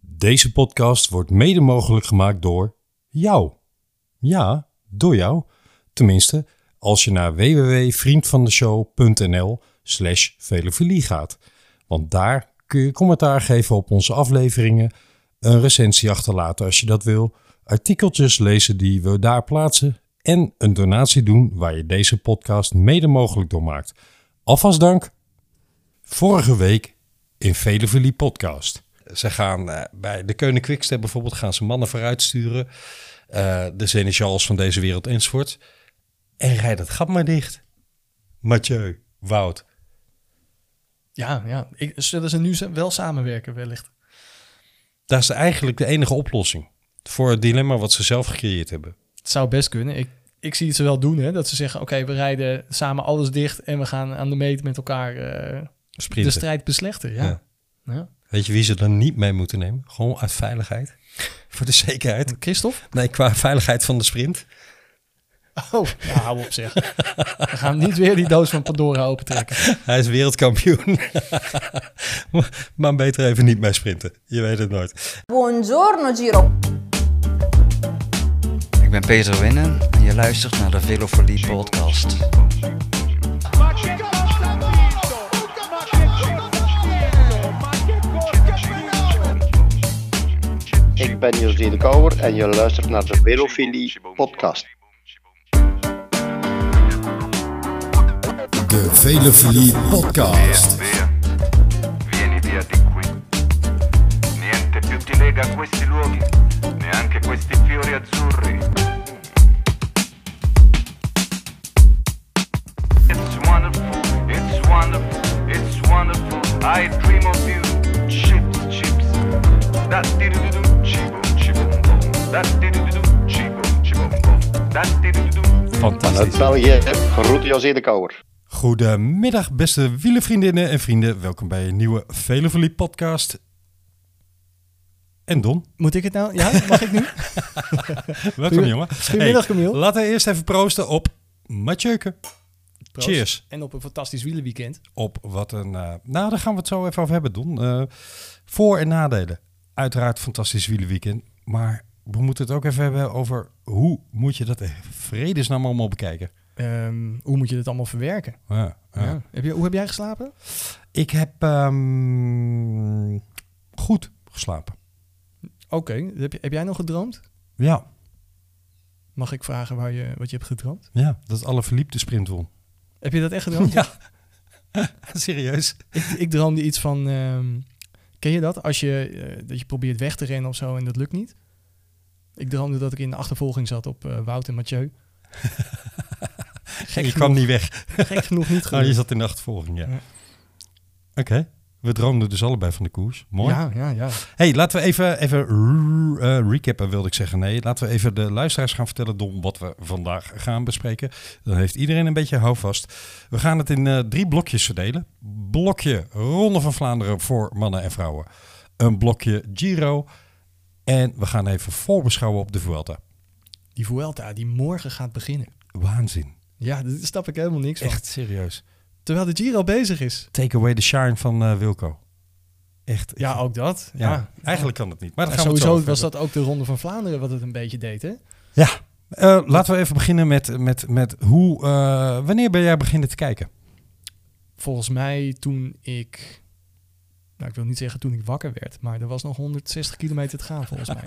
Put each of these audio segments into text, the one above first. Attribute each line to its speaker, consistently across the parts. Speaker 1: Deze podcast wordt mede mogelijk gemaakt door jou. Ja, door jou. Tenminste, als je naar www.vriendvandeshow.nl slash velofilie gaat. Want daar kun je commentaar geven op onze afleveringen, een recensie achterlaten als je dat wil, artikeltjes lezen die we daar plaatsen en een donatie doen waar je deze podcast mede mogelijk door maakt. Alvast dank. Vorige week in Velofilie podcast. Ze gaan eh, bij de Keunen Quickstep bijvoorbeeld gaan ze mannen vooruitsturen. eh, de Senechals van deze wereld enzovoort. En rijd dat gat maar dicht. Mathieu, Wout.
Speaker 2: Ja, ja. Ik, zullen ze nu z- wel samenwerken wellicht?
Speaker 1: Dat is eigenlijk de enige oplossing. Voor het dilemma wat ze zelf gecreëerd hebben.
Speaker 2: Het zou best kunnen. Ik, ik zie het ze wel doen, hè. Dat ze zeggen, oké, we rijden samen alles dicht... en we gaan aan de meet met elkaar eh, de
Speaker 1: Sprinten.
Speaker 2: strijd beslechten. Ja.
Speaker 1: Ja.
Speaker 2: Ja.
Speaker 1: Weet je wie ze dan niet mee moeten nemen? Gewoon uit veiligheid. Voor de zekerheid.
Speaker 2: Christophe?
Speaker 1: Nee, qua veiligheid van de sprint.
Speaker 2: Oh, nou, hou op zeg. We gaan niet weer die doos van Pandora opentrekken.
Speaker 1: Hij is wereldkampioen. maar beter even niet mee sprinten. Je weet het nooit.
Speaker 3: Buongiorno Giro.
Speaker 4: Ik ben Peter Winnen en je luistert naar de Velofolie podcast.
Speaker 5: Ma che cosa ha vinto? Ma che cosa ha vinto? Ma che cosa ha vinto?
Speaker 6: Ik ben José de Kouwer en je luistert naar de Velofilie podcast.
Speaker 7: De Velofilie Podcast.
Speaker 8: Vieni via di qui. Niente più ti lega a questi luoghi, neanche questi fiori azzurri. It's wonderful, it's wonderful, it's wonderful. I dream of you. Chips, chips. Da di du du du, cibo, cibo, bom. Da di du du du, cibo, cibo, bom. Da di du du du.
Speaker 6: Uit
Speaker 1: Fantastisch.
Speaker 6: België groet José de Kouwer.
Speaker 1: Goedemiddag, beste wielenvriendinnen en vrienden. Welkom bij een nieuwe Veloverliep podcast. En Don,
Speaker 2: Moet ik het nou? Ja, mag ik nu?
Speaker 1: welkom jongen.
Speaker 2: goedemiddag, Camille.
Speaker 1: Laten we eerst even proosten op Matjeuken.
Speaker 2: Proost.
Speaker 1: Cheers.
Speaker 2: En op een fantastisch wielenweekend.
Speaker 1: Op wat een... eh, nou, daar gaan we het zo even over hebben, Don. Eh, voor- en nadelen. Uiteraard fantastisch wielenweekend. Maar we moeten het ook even hebben over hoe moet je dat in vredesnaam allemaal bekijken.
Speaker 2: Ehm, hoe moet je dit allemaal verwerken?
Speaker 1: Ja, ja.
Speaker 2: Ja. Heb je, hoe heb jij geslapen?
Speaker 1: Ik heb ehm, goed geslapen.
Speaker 2: Oké, heb, je- heb jij nog gedroomd?
Speaker 1: Ja.
Speaker 2: Mag ik vragen waar je, wat je hebt gedroomd?
Speaker 1: Ja, dat alle verliepte sprint won.
Speaker 2: Heb je dat echt gedroomd?
Speaker 1: Serieus?
Speaker 2: ik, ik droomde iets van... ehm, ken je dat? Als je, eh, dat je probeert weg te rennen of zo en dat lukt niet. Ik droomde dat ik in de achtervolging zat op eh, Wout en Mathieu.
Speaker 1: je
Speaker 2: gek,
Speaker 1: kwam
Speaker 2: genoeg,
Speaker 1: niet weg.
Speaker 2: gek genoeg niet
Speaker 1: Oh,
Speaker 2: gelukt.
Speaker 1: je zat in de achtervolging, ja.
Speaker 2: Ja.
Speaker 1: Oké. We droomden dus allebei van de koers. Mooi.
Speaker 2: Ja, ja, ja.
Speaker 1: hey, laten we even, even r- eh, recappen, wilde ik zeggen. Nee, laten we even de luisteraars gaan vertellen, Dom, wat we vandaag gaan bespreken. Dan heeft iedereen een beetje houvast. We gaan het in eh, drie blokjes verdelen. Blokje Ronde van Vlaanderen voor mannen en vrouwen. Een blokje Giro. En we gaan even voorbeschouwen op de Vuelta.
Speaker 2: Die Vuelta die morgen gaat beginnen.
Speaker 1: Waanzin.
Speaker 2: Ja, daar snap ik helemaal niks van.
Speaker 1: Echt serieus.
Speaker 2: Terwijl de Giro bezig is.
Speaker 1: Take away the shine van eh, Wilco. Echt. ik-
Speaker 2: Ja, ook dat.
Speaker 1: ja,
Speaker 2: Ja.
Speaker 1: Eigenlijk kan het niet. Maar
Speaker 2: En
Speaker 1: dat gaan we het zo
Speaker 2: sowieso
Speaker 1: over
Speaker 2: was
Speaker 1: hebben.
Speaker 2: dat ook de Ronde van Vlaanderen wat het een beetje deed, hè?
Speaker 1: Ja. Eh, laten we even beginnen met, met, met hoe... eh, wanneer ben jij beginnen te kijken?
Speaker 2: Volgens mij toen ik... Nou, ik wil niet zeggen toen ik wakker werd, maar er was nog 160 kilometer te gaan volgens mij.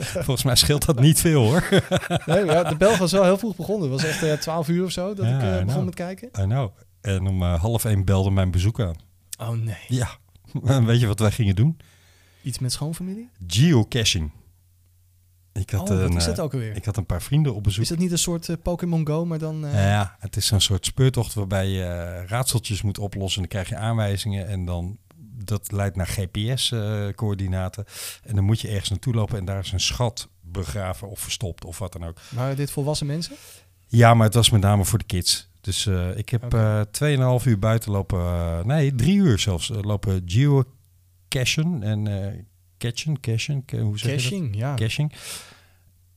Speaker 1: Volgens mij scheelt dat niet veel hoor.
Speaker 2: Nee, maar ja, de Belg was wel heel vroeg begonnen. Het was echt eh 12 uur of zo dat
Speaker 1: Ja,
Speaker 2: ik eh, begon
Speaker 1: nou.
Speaker 2: met kijken.
Speaker 1: I know. En om eh, half één belde mijn bezoek aan.
Speaker 2: Oh nee.
Speaker 1: Ja. En weet je wat wij gingen doen?
Speaker 2: Iets met schoonfamilie?
Speaker 1: Geocaching. Ik had,
Speaker 2: oh, wat
Speaker 1: een,
Speaker 2: is
Speaker 1: eh,
Speaker 2: dat ook alweer?
Speaker 1: ik had een paar vrienden op bezoek.
Speaker 2: Is dat niet een soort eh, Pokémon Go, maar dan... eh,
Speaker 1: Ja, het is zo'n soort speurtocht waarbij je eh, raadseltjes moet oplossen. Dan krijg je aanwijzingen en dan dat leidt naar GPS-coördinaten. eh, en dan moet je ergens naartoe lopen en daar is een schat begraven of verstopt of wat dan ook.
Speaker 2: Waren dit volwassen mensen?
Speaker 1: Ja, maar het was met name voor de kids. Dus eh, ik heb eh,
Speaker 2: Oké.
Speaker 1: 2,5 uur buiten lopen, eh, nee, drie uur zelfs, eh, lopen geocachen en eh catchen, cashen, ca- hoe zeg je dat?
Speaker 2: Caching, ja.
Speaker 1: caching.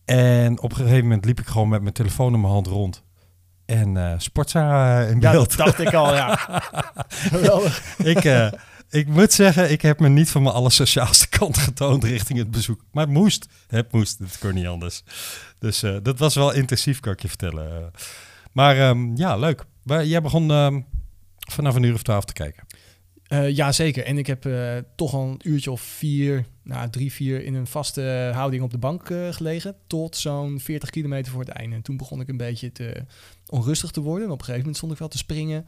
Speaker 1: En op een gegeven moment liep ik gewoon met mijn telefoon in mijn hand rond. En eh Sportza eh, in
Speaker 2: Ja,
Speaker 1: beeld.
Speaker 2: dat dacht ik al, ja. Geweldig.
Speaker 1: ik, eh, Ik moet zeggen, ik heb me niet van mijn allersociaalste kant getoond richting het bezoek. Maar het moest. Het moest. Het kon niet anders. Dus eh, dat was wel intensief, kan ik je vertellen. Eh, Maar ehm, ja, leuk. Maar jij begon ehm, vanaf een uur of twaalf te kijken.
Speaker 2: Eh, ja, zeker. En ik heb eh, toch al een uurtje of vier, nou, drie, vier in een vaste eh, houding op de bank eh, gelegen. Tot zo'n 40 kilometer voor het einde. En toen begon ik een beetje te, onrustig te worden. En op een gegeven moment stond ik wel te springen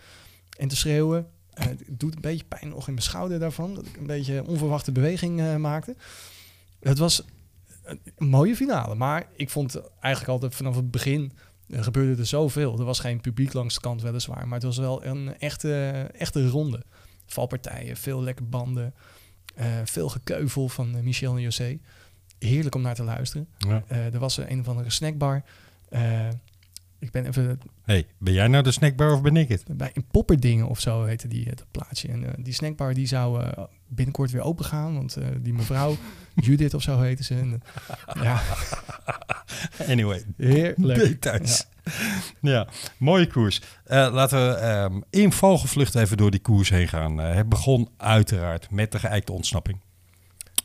Speaker 2: en te schreeuwen. Eh, het doet een beetje pijn nog in mijn schouder daarvan. Dat ik een beetje onverwachte beweging eh, maakte. Het was een mooie finale. Maar ik vond eigenlijk altijd vanaf het begin eh, gebeurde er zoveel. Er was geen publiek langs de kant weliswaar. Maar het was wel een echte, echte ronde valpartijen, veel lekke banden, eh, veel gekeuvel van eh, Michel en José. Heerlijk om naar te luisteren.
Speaker 1: Ja.
Speaker 2: Eh, er was eh, een of andere snackbar. Eh, ik ben even
Speaker 1: hey, ben jij nou de snackbar of ben ik het?
Speaker 2: bij in Popperdingen of zo heette die eh, dat plaatsje. En eh, die snackbar die zou eh, binnenkort weer open gaan, want eh, die mevrouw Judith of zo heette ze. En, eh, ja,
Speaker 1: Anyway,
Speaker 2: heerlijk.
Speaker 1: details. Ja. mooie koers. Eh, laten we ehm, in vogelvlucht even door die koers heen gaan. Eh, het begon uiteraard met de geëikte ontsnapping.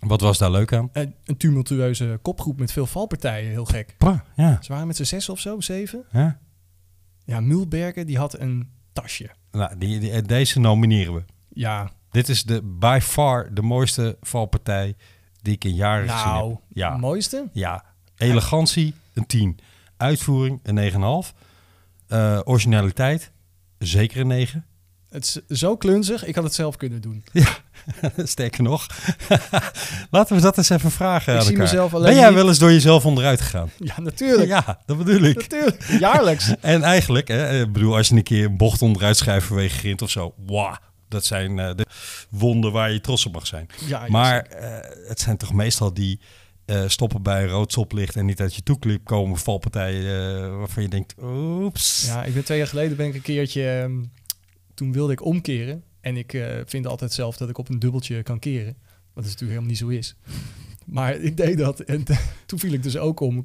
Speaker 1: Wat was daar leuk aan?
Speaker 2: Een, een tumultueuze kopgroep met veel valpartijen, heel gek.
Speaker 1: Pa, ja.
Speaker 2: Ze waren met z'n zes of zo, zeven.
Speaker 1: ja.
Speaker 2: Ja, Mulbergen die had een tasje.
Speaker 1: Nou, die, die- deze nomineren we.
Speaker 2: Ja,
Speaker 1: Dit is de, by far de mooiste valpartij die ik in jaren gezien
Speaker 2: nou,
Speaker 1: heb. Ja,
Speaker 2: mooiste.
Speaker 1: ja. elegantie een 10. Uitvoering een 9,5. Eh originaliteit zeker een 9.
Speaker 2: Het is zo klunzig, ik had het zelf kunnen doen.
Speaker 1: Ja, sterker nog. Laten we dat eens even vragen
Speaker 2: Ik
Speaker 1: aan
Speaker 2: zie
Speaker 1: elkaar.
Speaker 2: mezelf alleen
Speaker 1: ben jij
Speaker 2: niet-
Speaker 1: wel eens door jezelf onderuit gegaan?
Speaker 2: Ja, natuurlijk.
Speaker 1: Ja, dat bedoel ik.
Speaker 2: Natuurlijk. Jaarlijks.
Speaker 1: En eigenlijk, hè, ik bedoel, als je een keer een bocht onderuit schuift vanwege grind of zo, wauw, dat zijn eh, de wonden waar je trots op mag zijn.
Speaker 2: Ja, ja,
Speaker 1: maar eh, het zijn toch meestal die eh, stoppen bij een rood stoplicht en niet uit je toeklip komen valpartijen eh, waarvan je denkt, oeps.
Speaker 2: Ja, ik ben twee jaar geleden ben ik een keertje... ehm, toen wilde ik omkeren. En ik eh, vind altijd zelf dat ik op een dubbeltje kan keren. Wat dus natuurlijk helemaal niet zo is. Maar ik deed dat en toen viel ik dus ook om.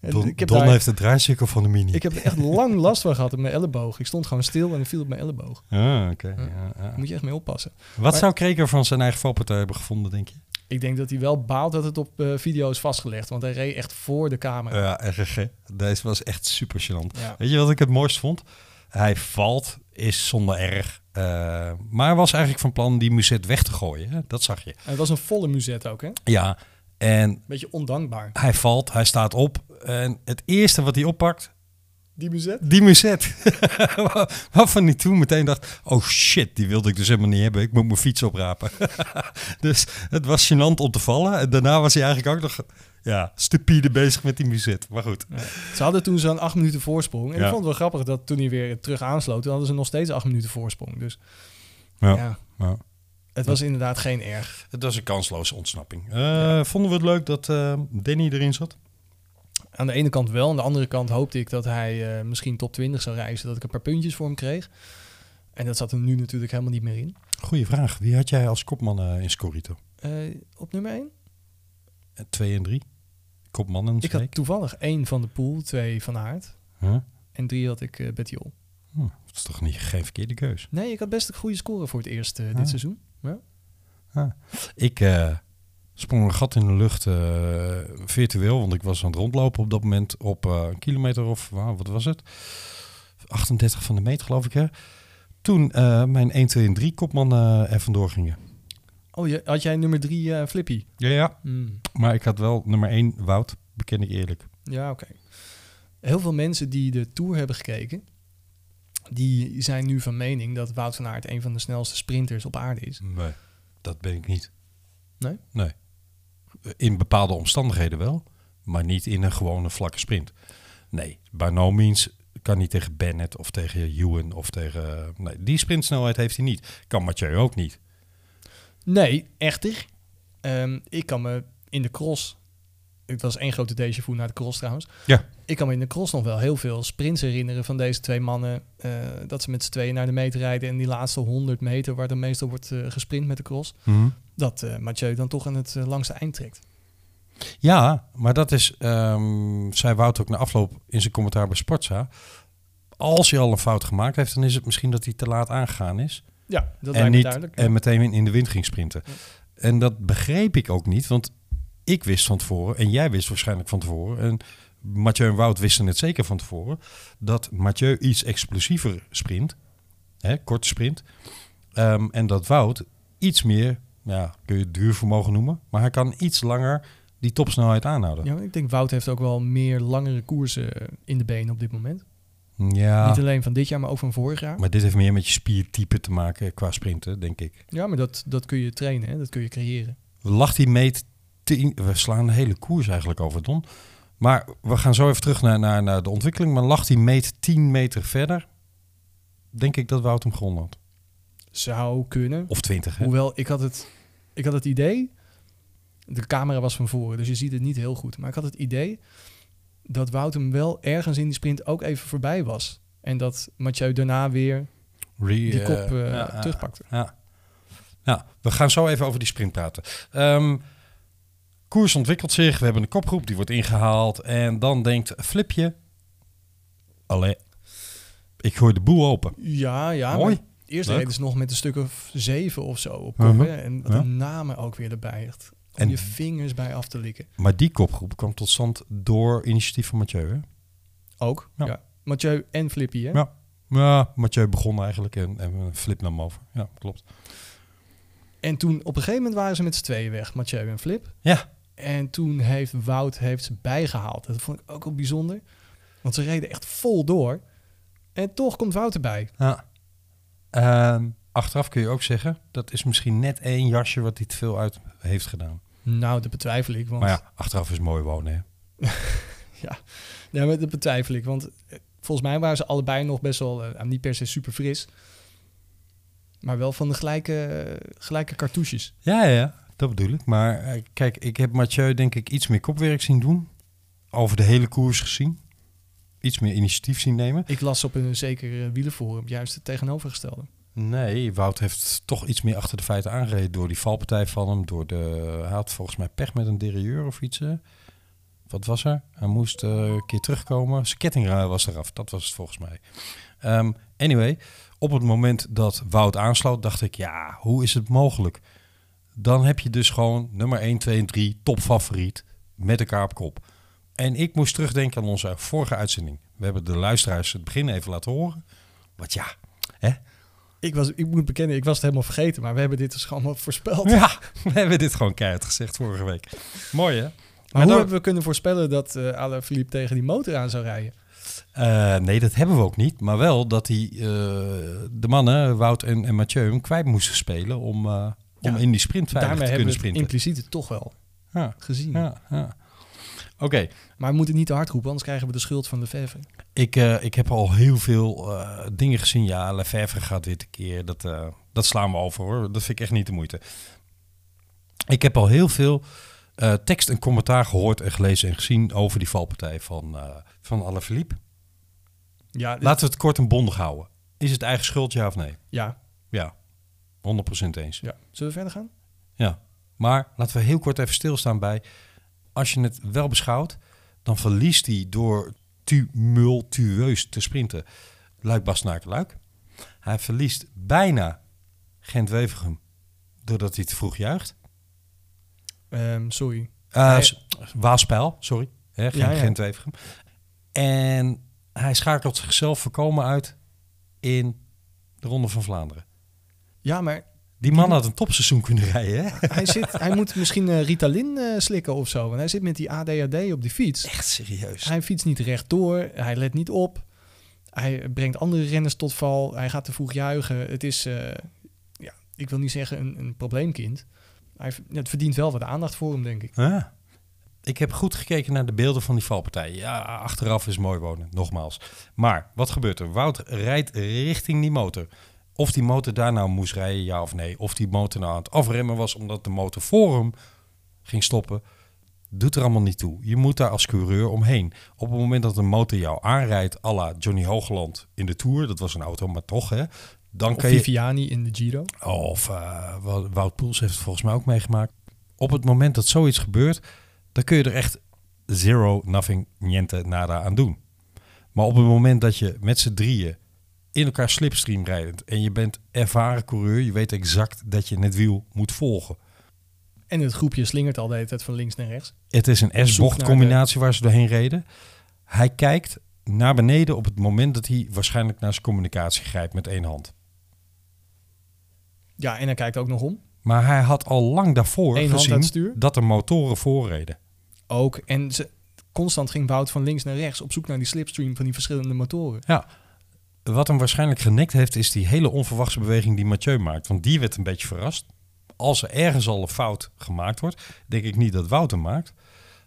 Speaker 2: En
Speaker 1: Don,
Speaker 2: ik, heb
Speaker 1: Don
Speaker 2: daar-
Speaker 1: heeft het draaicirkel van de mini.
Speaker 2: ik heb er echt lang last van gehad op mijn elleboog. Ik stond gewoon stil en ik viel op mijn elleboog.
Speaker 1: Ah, oké, ja, ja.
Speaker 2: Daar moet je echt mee oppassen.
Speaker 1: Wat zou Kreker van zijn eigen valpartij hebben gevonden, denk je?
Speaker 2: Ik denk dat hij wel baalt dat het op eh, video is vastgelegd. Want hij reed echt voor de camera.
Speaker 1: Ja, RGG. Deze was echt super gênant.
Speaker 2: Ja.
Speaker 1: Weet je wat ik het mooist vond? Hij valt, is zonder erg. eh, maar was eigenlijk van plan die Muzet weg te gooien. Hè? Dat zag je.
Speaker 2: En het was een volle muzet ook, hè?
Speaker 1: Ja, en
Speaker 2: Beetje ondankbaar.
Speaker 1: hij valt, hij staat op. En het eerste wat hij oppakt,
Speaker 2: Die muzet?
Speaker 1: die Muzet. Waarvan hij toen meteen dacht, oh shit, die wilde ik dus helemaal niet hebben. Ik moet mijn fiets oprapen. dus het was gênant om te vallen. En daarna was hij eigenlijk ook nog ja, stupide bezig met die Muzet. Maar goed.
Speaker 2: Ze hadden toen zo'n acht minuten voorsprong. En
Speaker 1: Ja.
Speaker 2: ik vond het wel grappig dat toen hij weer terug aansloot, toen hadden ze nog steeds acht minuten voorsprong. Dus
Speaker 1: Ja.
Speaker 2: ja,
Speaker 1: Ja.
Speaker 2: het was inderdaad geen erg.
Speaker 1: Het was een kansloze ontsnapping. Eh, Vonden we het leuk dat eh Danny erin zat?
Speaker 2: Aan de ene kant wel, aan de andere kant hoopte ik dat hij eh, misschien top 20 zou reizen, dat ik een paar puntjes voor hem kreeg. En dat zat er nu natuurlijk helemaal niet meer in.
Speaker 1: Goeie vraag. Wie had jij als kopman eh, in Scorito?
Speaker 2: Eh, op nummer 1?
Speaker 1: Eh, Twee en drie. Kopman en
Speaker 2: Ik
Speaker 1: streek.
Speaker 2: had toevallig één van de pool, twee van Aert
Speaker 1: Huh?
Speaker 2: en drie had ik eh Bettiol.
Speaker 1: Hm, dat is toch niet, geen verkeerde keus?
Speaker 2: Nee, ik had best een goede score voor het eerst eh,
Speaker 1: Ah.
Speaker 2: dit seizoen. Ja.
Speaker 1: Ik eh, sprong een gat in de lucht eh, virtueel, want ik was aan het rondlopen op dat moment op eh, een kilometer of wauw, wat was het? 38 van de meet, geloof ik. Hè? Toen eh, mijn 1, 2 en 3 kopman eh, er vandoor gingen.
Speaker 2: Oh, je, had jij nummer drie eh, Flippy?
Speaker 1: Ja, ja.
Speaker 2: Hmm.
Speaker 1: Maar ik had wel nummer 1 Wout, beken ik eerlijk.
Speaker 2: Ja, oké. Heel veel mensen die de Tour hebben gekeken... die zijn nu van mening dat Wout van Aert... een van de snelste sprinters op aarde is.
Speaker 1: Nee, dat ben ik niet.
Speaker 2: Nee?
Speaker 1: Nee. In bepaalde omstandigheden wel, maar niet in een gewone vlakke sprint. Nee, by no means kan hij tegen Bennett of tegen Ewan of tegen... Nee, die sprintsnelheid heeft hij niet. Kan Mathieu ook niet.
Speaker 2: Nee, echter. Ehm, ik kan me in de cross... Het was één grote déjà vu naar de cross trouwens.
Speaker 1: Ja.
Speaker 2: Ik kan me in de cross nog wel heel veel sprints herinneren van deze twee mannen. eh, dat ze met z'n tweeën naar de meet rijden. En die laatste 100 meter waar dan meestal wordt eh, gesprint met de cross. Dat eh Mathieu dan toch aan het eh, langste eind trekt.
Speaker 1: Ja, maar dat is, ehm zei Wout ook na afloop in zijn commentaar bij Sportza. Als hij al een fout gemaakt heeft, dan is het misschien dat hij te laat aangegaan is.
Speaker 2: Ja, dat
Speaker 1: en
Speaker 2: lijkt me
Speaker 1: niet eh,
Speaker 2: duidelijk.
Speaker 1: en meteen in de wind ging sprinten. En dat begreep ik ook niet, want ik wist van tevoren, en jij wist waarschijnlijk van tevoren, en Mathieu en Wout wisten het zeker van tevoren, dat Mathieu iets explosiever sprint, hè, korte sprint, Ehm, en dat Wout iets meer, ja, kun je het duurvermogen noemen, maar hij kan iets langer die topsnelheid aanhouden.
Speaker 2: Ja, maar ik denk Wout heeft ook wel meer langere koersen eh, in de benen op dit moment.
Speaker 1: Ja,
Speaker 2: Niet alleen van dit jaar, maar ook van vorig jaar.
Speaker 1: maar dit heeft meer met je spiertype te maken qua sprinten, denk ik.
Speaker 2: Ja, maar dat, dat kun je trainen, hè? dat kun je creëren.
Speaker 1: Lacht die meet tien- We slaan de hele koers eigenlijk over, Don. Maar we gaan zo even terug naar, naar, naar de ontwikkeling. Maar lag die meet 10 meter verder, denk ik dat Wout hem gewonnen had.
Speaker 2: Zou kunnen.
Speaker 1: Of 20, hè?
Speaker 2: Hoewel, ik had het, ik had het idee... De camera was van voren, dus je ziet het niet heel goed. Maar ik had het idee dat Wout hem wel ergens in die sprint ook even voorbij was. En dat Mathieu daarna weer
Speaker 1: Re-
Speaker 2: die
Speaker 1: eh,
Speaker 2: kop eh,
Speaker 1: ja, ja,
Speaker 2: terugpakte.
Speaker 1: Ja. Nou, we gaan zo even over die sprint praten. Ehm, koers ontwikkelt zich. We hebben een kopgroep, die wordt ingehaald. En dan denkt Flipje... Allee, ik gooi de boel open.
Speaker 2: Ja, ja.
Speaker 1: Mooi.
Speaker 2: maar Eerst
Speaker 1: Leuk.
Speaker 2: reden ze nog met een stuk of zeven of zo op kop.
Speaker 1: Mhm.
Speaker 2: hè? En wat
Speaker 1: Ja.
Speaker 2: de namen ook weer erbij. Echt, om
Speaker 1: En-
Speaker 2: je vingers bij af te likken.
Speaker 1: Maar die kopgroep kwam tot stand door initiatief van Mathieu, hè?
Speaker 2: Ook,
Speaker 1: Ja.
Speaker 2: ja. Mathieu en Flippy, hè?
Speaker 1: Ja. Ja, Mathieu begon eigenlijk en, en Flip nam hem over. Ja, klopt.
Speaker 2: En toen, op een gegeven moment waren ze met z'n tweeën weg, Mathieu en Flip.
Speaker 1: Ja,
Speaker 2: En toen heeft Wout heeft ze bijgehaald. Dat vond ik ook wel bijzonder. Want ze reden echt vol door. En toch komt Wout erbij.
Speaker 1: ja. Ehm, achteraf kun je ook zeggen, dat is misschien net één jasje wat hij te veel uit heeft gedaan.
Speaker 2: Nou, dat betwijfel ik. Want
Speaker 1: Maar ja, achteraf is mooi wonen, hè?
Speaker 2: Ja, nee, maar dat betwijfel ik. Want eh, volgens mij waren ze allebei nog best wel, eh, nou, niet per se super fris. Maar wel van de gelijke, eh, gelijke cartouches.
Speaker 1: Ja, ja, ja, dat bedoel ik. Maar eh, kijk, ik heb Mathieu denk ik iets meer kopwerk zien doen. Over de hele koers gezien. Iets meer initiatief zien nemen.
Speaker 2: Ik las op een zeker eh, wielerforum juist het tegenovergestelde.
Speaker 1: Nee, Wout heeft toch iets meer achter de feiten aangereden. Door die valpartij van hem. Door de, hij had volgens mij pech met een derailleur of iets. hè. Wat was er? Hij moest eh, een keer terugkomen. Zijn ketting eh, was eraf. Dat was het volgens mij. Ehm, anyway, op het moment dat Wout aansloot, dacht ik... Ja, hoe is het mogelijk? Dan heb je dus gewoon nummer 1, 2 en 3, topfavoriet, met elkaar op kop. En ik moest terugdenken aan onze vorige uitzending. We hebben de luisteraars het begin even laten horen. Want ja, hè,
Speaker 2: Ik, was, ik moet bekennen, ik was het helemaal vergeten. Maar we hebben dit dus allemaal voorspeld.
Speaker 1: Ja, we hebben dit gewoon keihard gezegd vorige week. Mooi hè?
Speaker 2: Maar hoe
Speaker 1: dan-
Speaker 2: hebben we kunnen voorspellen dat eh Alain Philippe tegen die motor aan zou rijden?
Speaker 1: Eh, nee, dat hebben we ook niet. Maar wel dat hij eh, de mannen, Wout en, en Mathieu, hem kwijt moesten spelen om, eh, om
Speaker 2: Ja,
Speaker 1: in die sprint veilig
Speaker 2: Daarmee
Speaker 1: te
Speaker 2: hebben
Speaker 1: kunnen
Speaker 2: we het
Speaker 1: sprinten.
Speaker 2: impliciete toch wel
Speaker 1: Ja,
Speaker 2: gezien.
Speaker 1: ja, ja. Oké,
Speaker 2: Maar we moeten het niet te hard roepen, anders krijgen we de schuld van de Verve.
Speaker 1: ik, eh, ik heb al heel veel eh, dingen gezien. Ja, Lefebvre gaat weer tekeer. Dat, eh, dat slaan we over hoor. Dat vind ik echt niet de moeite. Ik heb al heel veel eh, tekst en commentaar gehoord en gelezen en gezien over die valpartij van, eh van Alaphilippe.
Speaker 2: Ja, dit-
Speaker 1: Laten we het kort en bondig houden. Is het eigen schuld, ja of nee?
Speaker 2: ja,
Speaker 1: Ja, 100% eens.
Speaker 2: ja. Zullen we verder gaan?
Speaker 1: Ja. Maar laten we heel kort even stilstaan bij... als je het wel beschouwt, dan verliest hij door tumultueus te sprinten. Luik Bastenaken Luik. Hij verliest bijna Gent Wevergem doordat hij te vroeg juicht.
Speaker 2: Ehm, sorry.
Speaker 1: Eh,
Speaker 2: Nee.
Speaker 1: s- Waaspijl, sorry. Hè, geen
Speaker 2: Ja, ja.
Speaker 1: Gent Wevergem. En hij schakelt zichzelf voorkomen uit in de Ronde van Vlaanderen.
Speaker 2: Ja, maar
Speaker 1: Die man had een topseizoen kunnen rijden, hè?
Speaker 2: hij, zit, hij moet misschien eh, Ritalin eh, slikken of zo. Want hij zit met die ADHD op die fiets.
Speaker 1: Echt serieus.
Speaker 2: Hij fietst niet rechtdoor. Hij let niet op. Hij brengt andere renners tot val. Hij gaat te vroeg juichen. Het is, eh, ja, ik wil niet zeggen een, een probleemkind. Hij, v- het verdient wel wat aandacht voor hem, denk ik.
Speaker 1: Ja. Ik heb goed gekeken naar de beelden van die valpartij. Ja, achteraf is mooi wonen, nogmaals. Maar wat gebeurt er? Wout rijdt richting die motor. Of die motor daar nou moest rijden, ja of nee. Of die motor nou aan het afremmen was omdat de motor voor hem ging stoppen. Doet er allemaal niet toe. Je moet daar als coureur omheen. Op het moment dat een motor jou aanrijdt, à la Johnny Hoogland in de Tour. Dat was een auto, maar toch hè. Dan
Speaker 2: Of
Speaker 1: kan je...
Speaker 2: Viviani in de Giro.
Speaker 1: Of eh, Wou- Wout Poels heeft het volgens mij ook meegemaakt. Op het moment dat zoiets gebeurt, dan kun je er echt zero, nothing, niente, nada aan doen. Maar op het moment dat je met z'n drieën in elkaar slipstream rijdend. En je bent ervaren coureur. Je weet exact dat je het wiel moet volgen.
Speaker 2: En het groepje slingert al de hele tijd van links naar rechts.
Speaker 1: Het is een
Speaker 2: Zoek naar de-
Speaker 1: S-bochtcombinatie waar ze doorheen reden. Hij kijkt naar beneden op het moment dat hij waarschijnlijk naar zijn communicatie grijpt met één hand.
Speaker 2: Ja, en hij kijkt ook nog om.
Speaker 1: Maar hij had al lang daarvoor
Speaker 2: Eén hand aan
Speaker 1: gezien
Speaker 2: het stuur?
Speaker 1: dat er motoren voorreden.
Speaker 2: Ook. En ze, constant ging Wout van links naar rechts op zoek naar die slipstream van die verschillende motoren.
Speaker 1: Ja, wat hem waarschijnlijk genekt heeft, is die hele onverwachte beweging die Mathieu maakt. Want die werd een beetje verrast. Als er ergens al een fout gemaakt wordt, denk ik niet dat Wouter maakt.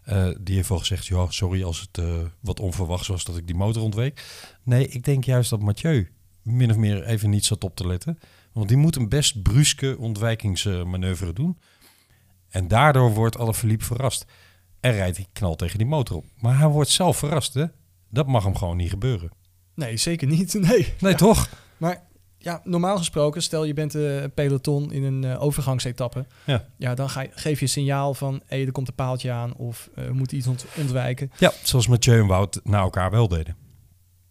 Speaker 1: Eh, die heeft wel gezegd, joh, sorry als het eh, wat onverwachts was dat ik die motor ontweek. Nee, ik denk juist dat Mathieu min of meer even niet zat op te letten. Want die moet een best bruske ontwijkingsmanoeuvre doen. En daardoor wordt Alaphilippe verrast. En rijdt hij knal tegen die motor op. Maar hij wordt zelf verrast, hè? Dat mag hem gewoon niet gebeuren.
Speaker 2: Nee, zeker niet. Nee.
Speaker 1: Nee, toch?
Speaker 2: Maar ja, normaal gesproken, stel je bent eh, een peloton in een eh, overgangsetappe.
Speaker 1: Ja.
Speaker 2: Ja, dan ga je, geef je signaal van, hé, er komt een paaltje aan of eh, we moeten iets ont- ontwijken.
Speaker 1: ja, zoals Mathieu en Wout na elkaar wel deden.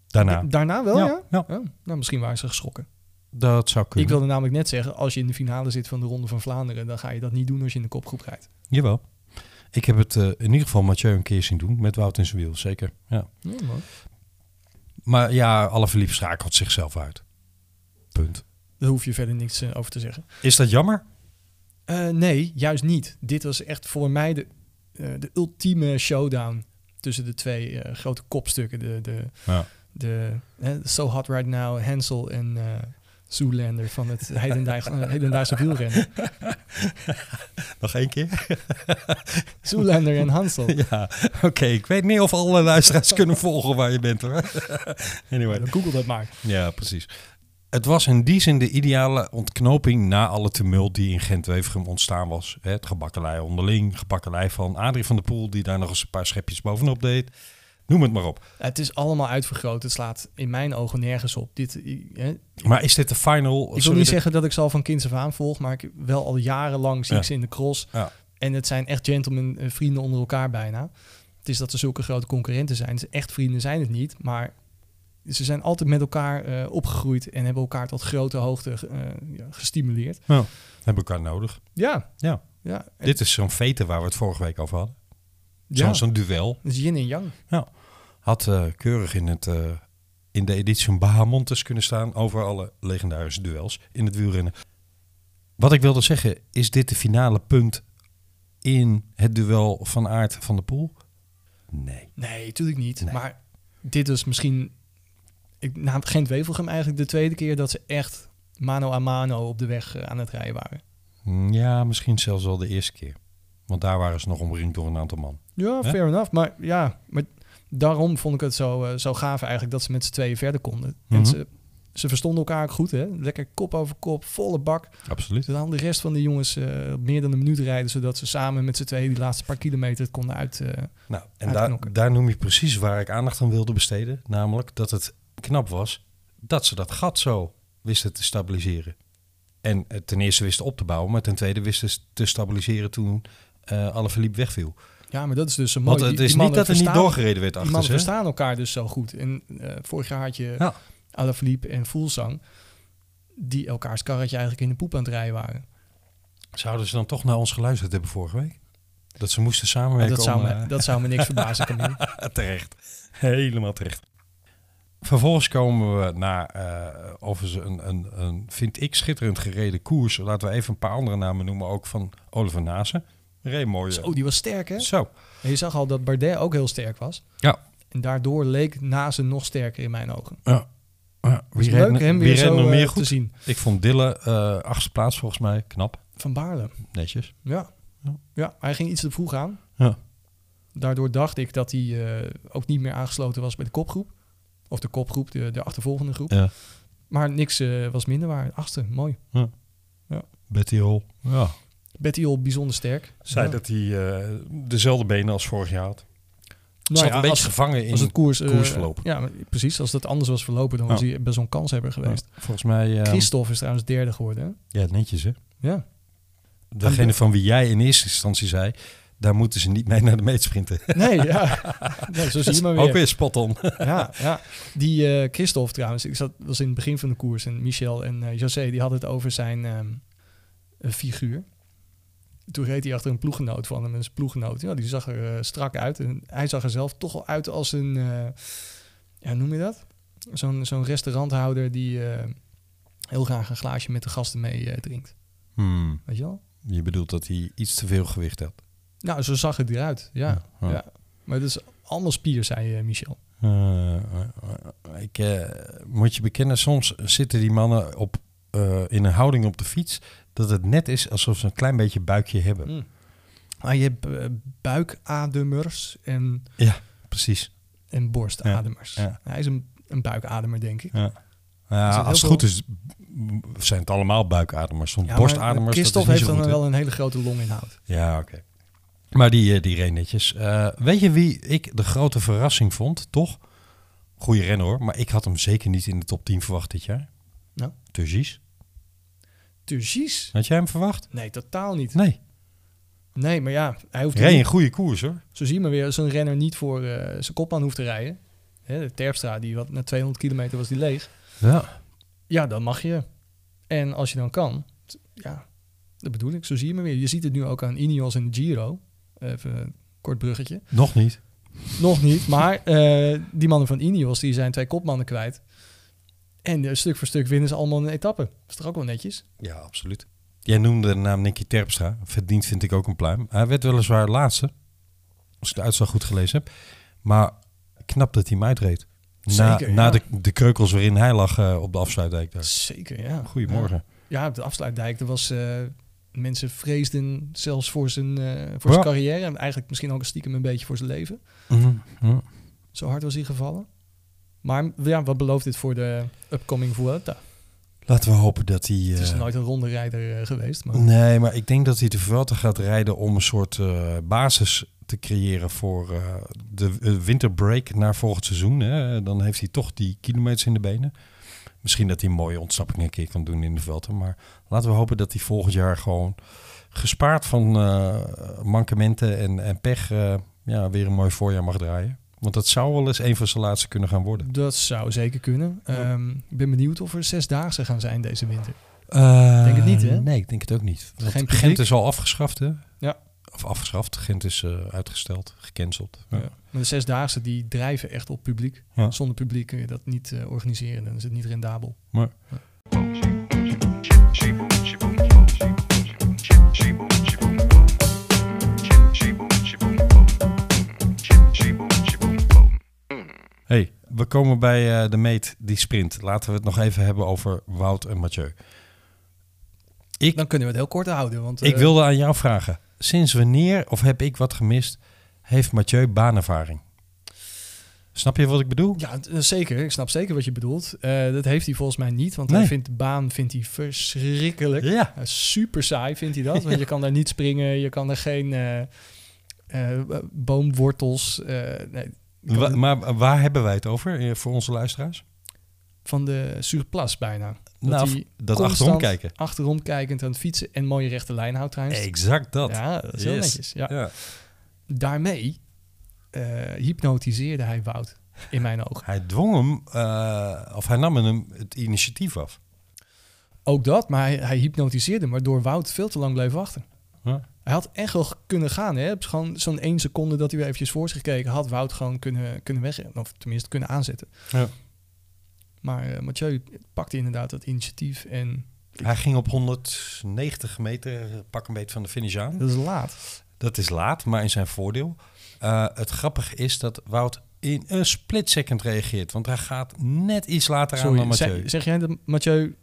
Speaker 1: Daarna.
Speaker 2: Daarna wel, ja?
Speaker 1: Ja, ja.
Speaker 2: Oh, nou, misschien waren ze geschrokken.
Speaker 1: Dat zou
Speaker 2: Ik
Speaker 1: kunnen.
Speaker 2: wilde namelijk net zeggen, als je in de finale zit van de Ronde van Vlaanderen, dan ga je dat niet doen als je in de kopgroep rijdt.
Speaker 1: Jawel. Ik heb het eh, in ieder geval Mathieu een keer zien doen met Wout in zijn wiel, zeker. Ja. Maar ja, Alaphilippe schakelt zichzelf uit. Punt.
Speaker 2: Daar hoef je verder niks eh, over te zeggen.
Speaker 1: Is dat jammer?
Speaker 2: Eh, nee, juist niet. Dit was echt voor mij de, eh, de ultieme showdown tussen de twee eh, grote kopstukken. De, de,
Speaker 1: Ja.
Speaker 2: de hè, So Hot Right Now, Hansel en eh Zoolander van het hedendaag- eh, hedendaagse wielrennen.
Speaker 1: Nog één keer?
Speaker 2: Zoolander en Hansel.
Speaker 1: Ja, oké. Ik weet niet of alle luisteraars kunnen volgen waar je bent hoor. anyway.
Speaker 2: Dan Google dat maar.
Speaker 1: Ja, precies. Het was in die zin de ideale ontknoping na alle tumult die in Gent-Wevergem ontstaan was. Hè, Het gebakkelei onderling, gebakkelei van Adrie van der Poel, die daar nog eens een paar schepjes bovenop deed. Noem het maar op.
Speaker 2: Het is allemaal uitvergroot. Het slaat in mijn ogen nergens op. Dit, eh, hè,
Speaker 1: Maar is dit de final?
Speaker 2: ik wil
Speaker 1: Sorry,
Speaker 2: niet
Speaker 1: de-
Speaker 2: zeggen dat ik ze al van kinds af aan volg, maar ik, wel al jarenlang zie
Speaker 1: Ja.
Speaker 2: ik ze in de cross.
Speaker 1: Ja.
Speaker 2: En het zijn echt gentlemen, eh, vrienden onder elkaar bijna. Het is dat er zulke grote concurrenten zijn. Ze echt vrienden zijn het niet, maar ze zijn altijd met elkaar eh, opgegroeid en hebben elkaar tot grote hoogte eh, ja, gestimuleerd.
Speaker 1: Nou, hebben we elkaar nodig.
Speaker 2: Ja,
Speaker 1: Ja.
Speaker 2: ja. En-
Speaker 1: Dit is zo'n vete waar we het vorige week over hadden.
Speaker 2: ja.
Speaker 1: Zo'n- Zo'n duel.
Speaker 2: Het is yin en yang.
Speaker 1: Ja. Had eh, keurig in, het, eh, in de editie van Bahamontes kunnen staan over alle legendarische duels in het wielrennen. Wat ik wilde zeggen, is dit de finale punt in het duel van Aert van de Poel? Nee.
Speaker 2: Nee, natuurlijk niet.
Speaker 1: Nee.
Speaker 2: Maar dit is misschien... Ik, na Gent-Wevelgem eigenlijk de tweede keer dat ze echt mano a mano op de weg eh, aan het rijden waren.
Speaker 1: Mm, Ja, misschien zelfs al de eerste keer. Want daar waren ze nog omringd door een aantal man.
Speaker 2: Ja,
Speaker 1: Hè?
Speaker 2: fair enough. Maar ja, maar daarom vond ik het zo, eh, zo gaaf eigenlijk dat ze met z'n tweeën verder konden.
Speaker 1: Mhm.
Speaker 2: En ze, ze verstonden elkaar ook goed, hè? Lekker kop over kop, volle bak.
Speaker 1: Absoluut.
Speaker 2: Ze hadden de rest van de jongens eh, op meer dan een minuut rijden, zodat ze samen met z'n tweeën die laatste paar kilometer het konden uit. eh,
Speaker 1: Nou, en daar,
Speaker 2: Uitknokken.
Speaker 1: daar noem je precies waar ik aandacht aan wilde besteden. Namelijk dat het knap was dat ze dat gat zo wisten te stabiliseren. En eh, ten eerste wisten op te bouwen, maar ten tweede wisten ze te stabiliseren toen eh Alaphilippe wegviel.
Speaker 2: ja, maar dat is dus een mooi.
Speaker 1: Want het
Speaker 2: die-
Speaker 1: is
Speaker 2: die
Speaker 1: niet
Speaker 2: mannen
Speaker 1: dat er niet
Speaker 2: verstaan-
Speaker 1: doorgereden werd
Speaker 2: Die
Speaker 1: achter
Speaker 2: mannen
Speaker 1: ze. hè?
Speaker 2: verstaan elkaar dus zo goed. En eh, vorig jaar had je
Speaker 1: Ja.
Speaker 2: Alaphilippe en Fulsang, die elkaars karretje eigenlijk in de poep aan het rijden waren.
Speaker 1: Zouden ze dan toch naar ons geluisterd hebben vorige week? Dat ze moesten samenwerken
Speaker 2: Dat zou,
Speaker 1: om,
Speaker 2: me,
Speaker 1: eh,
Speaker 2: dat zou me niks verbazen, Camille.
Speaker 1: terecht. Helemaal terecht. Vervolgens komen we naar, eh overigens een, een, een, vind ik, schitterend gereden koers. Laten we even een paar andere namen noemen, ook van Oliver Nase. Reed mooi. eh,
Speaker 2: Oh, die was sterk, hè?
Speaker 1: Zo.
Speaker 2: En je zag al dat Bardet ook heel sterk was.
Speaker 1: Ja.
Speaker 2: En daardoor leek Nazen nog sterker in mijn ogen.
Speaker 1: ja. Ja,
Speaker 2: Dus
Speaker 1: wie reed,
Speaker 2: leuk
Speaker 1: er-
Speaker 2: hem
Speaker 1: wie
Speaker 2: weer
Speaker 1: reed
Speaker 2: zo
Speaker 1: nog
Speaker 2: eh,
Speaker 1: meer
Speaker 2: te
Speaker 1: goed?
Speaker 2: zien.
Speaker 1: Ik vond Dille eh achtste plaats volgens mij. Knap.
Speaker 2: Van Baarle.
Speaker 1: Netjes.
Speaker 2: Ja.
Speaker 1: Ja.
Speaker 2: ja, hij ging iets te vroeg aan.
Speaker 1: Ja.
Speaker 2: Daardoor dacht ik dat hij eh, ook niet meer aangesloten was bij de kopgroep. Of de kopgroep, de, de achtervolgende groep.
Speaker 1: Ja.
Speaker 2: Maar niks eh, was minder waar. Achtste, mooi.
Speaker 1: Betty Hol. Ja.
Speaker 2: Betty Hol bijzonder sterk.
Speaker 1: Zei
Speaker 2: Ja.
Speaker 1: dat hij eh, dezelfde benen als vorig jaar had.
Speaker 2: Nou
Speaker 1: Zat
Speaker 2: ja,
Speaker 1: een beetje
Speaker 2: als,
Speaker 1: gevangen in
Speaker 2: als het koers, eh,
Speaker 1: koersverloop.
Speaker 2: Ja, maar precies. Als dat anders was verlopen, dan
Speaker 1: Ja.
Speaker 2: was hij best wel een kanshebber geweest.
Speaker 1: Volgens mij... eh,
Speaker 2: Christophe is trouwens derde geworden.
Speaker 1: ja, netjes hè.
Speaker 2: hè? Ja.
Speaker 1: Degene van wie jij in eerste instantie zei, Daar moeten ze niet mee naar de meet sprinten.
Speaker 2: Nee, ja. Nee, zo zie je maar weer.
Speaker 1: Ook weer spot on.
Speaker 2: Ja, ja. Die eh, Christophe trouwens, ik zat, was in het begin van de koers en Michel en eh, José die hadden het over zijn ehm, eh, figuur. Toen reed hij achter een ploeggenoot van hem en zijn ploeggenoot, ja, die zag er eh, strak uit en hij zag er zelf toch al uit als een, eh, ja, noem je dat? Zo'n zo'n restauranthouder die eh, heel graag een glaasje met de gasten mee eh, drinkt,
Speaker 1: Hmm,
Speaker 2: weet je wel?
Speaker 1: je bedoelt dat hij iets te veel gewicht had.
Speaker 2: Nou, zo zag het eruit, ja.
Speaker 1: Ja,
Speaker 2: ja,
Speaker 1: ja.
Speaker 2: Maar dat is allemaal spier, zei eh, Michel.
Speaker 1: Eh, eh, eh, ik eh, moet je bekennen, soms zitten die mannen op, eh, in een houding op de fiets... dat het net is alsof ze een klein beetje buikje hebben.
Speaker 2: Mm. Maar je hebt eh, buikademers en
Speaker 1: Ja, precies.
Speaker 2: en borstademers. Nou,
Speaker 1: Ja, ja.
Speaker 2: Hij is een, een buikademer, denk ik.
Speaker 1: Ja.
Speaker 2: Er zit
Speaker 1: Ja,
Speaker 2: heel
Speaker 1: als het
Speaker 2: veel-
Speaker 1: goed is, m, zijn het allemaal buikademers. Want
Speaker 2: Ja, maar
Speaker 1: borstademers, dat is
Speaker 2: Christophe
Speaker 1: niet
Speaker 2: heeft
Speaker 1: zo goed,
Speaker 2: dan
Speaker 1: hè?
Speaker 2: wel een hele grote longinhoud.
Speaker 1: Ja, oké. Maar die, eh, die reed netjes. Eh, weet je wie ik de grote verrassing vond, toch? Goeie renner hoor, maar ik had hem zeker niet in de top 10 verwacht dit jaar.
Speaker 2: Nou.
Speaker 1: Turgis.
Speaker 2: Turgies?
Speaker 1: Had jij hem verwacht?
Speaker 2: Nee, totaal niet.
Speaker 1: Nee.
Speaker 2: Nee, maar ja, hij hoeft
Speaker 1: Reed een
Speaker 2: niet,
Speaker 1: goede koers hoor.
Speaker 2: zo zie je maar weer, als een renner niet voor eh, zijn kopman hoeft te rijden. Hè, de Terpstra, die wat, na 200 kilometer was die leeg.
Speaker 1: Ja.
Speaker 2: Ja, dan mag je. En als je dan kan, t- ja, dat bedoel ik. Zo zie je maar weer. Je ziet het nu ook aan Ineos en Giro. Even een kort bruggetje.
Speaker 1: Nog niet.
Speaker 2: Nog niet, maar eh, die mannen van Ineos die zijn twee kopmannen kwijt. En eh, stuk voor stuk winnen ze allemaal een etappe. Is toch ook wel netjes?
Speaker 1: Ja, absoluut. Jij noemde de naam Nicky Terpstra. Verdiend vind ik ook een pluim. Hij werd weliswaar laatste. Als ik de uitslag goed gelezen heb. Maar knap dat hij hem uitreed. Na,
Speaker 2: Zeker,
Speaker 1: na
Speaker 2: ja.
Speaker 1: de, de kreukels waarin hij lag eh, op de afsluitdijk daar.
Speaker 2: Zeker, ja.
Speaker 1: Goedemorgen.
Speaker 2: Ja, op de afsluitdijk, er was... eh, mensen vreesden zelfs voor zijn, eh, voor zijn
Speaker 1: Ja.
Speaker 2: carrière. En eigenlijk misschien ook stiekem een beetje voor zijn leven.
Speaker 1: Mhm, mhm.
Speaker 2: Zo hard was hij gevallen. Maar ja, wat belooft dit voor de upcoming Vuelta?
Speaker 1: Laten we hopen dat hij...
Speaker 2: Het is
Speaker 1: eh,
Speaker 2: nooit een ronde rijder eh, geweest, maar...
Speaker 1: Nee, maar ik denk dat hij de Vuelta gaat rijden om een soort eh, basis te creëren voor eh, de eh, winterbreak naar volgend seizoen. Hè. Dan heeft hij toch die kilometers in de benen. Misschien dat hij een mooie ontsnapping een keer kan doen in de Vuelta. Maar laten we hopen dat hij volgend jaar gewoon gespaard van eh, mankementen en, en pech eh, ja, weer een mooi voorjaar mag draaien. Want dat zou wel eens een van zijn laatste kunnen gaan worden.
Speaker 2: Dat zou zeker kunnen. Ehm, ik ben benieuwd of er zesdaagse gaan zijn deze winter. Denk het niet, hè?
Speaker 1: Ehm, Nee, ik denk het ook niet. Want
Speaker 2: Geen publiek?
Speaker 1: Gent is al afgeschaft, hè?
Speaker 2: Ja.
Speaker 1: Of afgeschaft. Gent is eh, uitgesteld, gecanceld. Ja.
Speaker 2: Ja. Maar de zesdaagse die drijven echt op publiek.
Speaker 1: Ja.
Speaker 2: Zonder publiek kun je dat niet eh, organiseren. Dan is het niet rendabel.
Speaker 1: Maar hey, we komen bij eh, de meet die sprint. Laten we het nog even hebben over Wout en Mathieu. Ik,
Speaker 2: Dan kunnen we het heel kort houden. Want, eh,
Speaker 1: ik wilde aan jou vragen. Sinds wanneer, of heb ik wat gemist, heeft Mathieu baanervaring? Snap je wat ik bedoel?
Speaker 2: Ja, t- eh, zeker. Ik snap zeker wat je bedoelt. Eh, dat heeft hij volgens mij niet. Want
Speaker 1: Nee.
Speaker 2: hij vindt de baan vindt hij verschrikkelijk.
Speaker 1: Ja.
Speaker 2: Eh, super saai vindt hij dat. Want je kan daar niet springen. Je kan er geen eh, eh, boomwortels... eh, nee, je kan
Speaker 1: Wa-
Speaker 2: er-
Speaker 1: maar waar hebben wij het over eh, voor onze luisteraars?
Speaker 2: van de surplus bijna. Dat
Speaker 1: Nou,
Speaker 2: hij
Speaker 1: dat
Speaker 2: constant
Speaker 1: achterom kijken.
Speaker 2: Achterom kijkend aan het fietsen en mooie rechte lijn houdt trouwens.
Speaker 1: Exact dat.
Speaker 2: Ja, dat is heel
Speaker 1: Yes.
Speaker 2: netjes. Ja.
Speaker 1: Ja.
Speaker 2: daarmee eh, hypnotiseerde hij Wout in mijn ogen.
Speaker 1: Hij dwong hem, eh, of hij nam hem het initiatief af.
Speaker 2: Ook dat, maar hij, hij hypnotiseerde hem, waardoor Wout veel te lang bleef wachten.
Speaker 1: Ja.
Speaker 2: Hij had echt wel kunnen gaan. Hè? Gewoon zo'n één seconde dat hij weer eventjes voor zich gekeken had, Wout gewoon kunnen, kunnen weg, of tenminste kunnen aanzetten.
Speaker 1: Ja.
Speaker 2: Maar eh, Mathieu pakte inderdaad dat initiatief en
Speaker 1: Hij ging op 190 meter, eh, pak een beetje van de finish aan.
Speaker 2: dat is laat.
Speaker 1: Dat is laat, maar in zijn voordeel. Eh, het grappige is dat Wout in een split second reageert. Want hij gaat net iets later aan dan
Speaker 2: Sorry,
Speaker 1: Mathieu.
Speaker 2: zeg, zeg jij dat Mathieu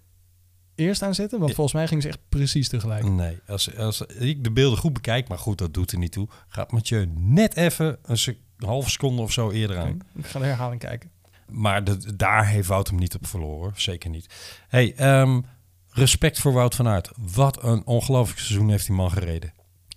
Speaker 2: eerst aanzette? Want
Speaker 1: Ja.
Speaker 2: volgens mij ging ze echt precies tegelijk.
Speaker 1: Nee, als, als ik de beelden goed bekijk, maar goed, dat doet er niet toe. Gaat Mathieu net even een, sec- een halve seconde of zo eerder aan.
Speaker 2: Oké, Ik ga de herhaling kijken.
Speaker 1: Maar de- daar heeft Wout hem niet op verloren, hoor. zeker niet. Hey, ehm, respect voor Wout van Aert. Wat een ongelooflijk seizoen heeft die man gereden.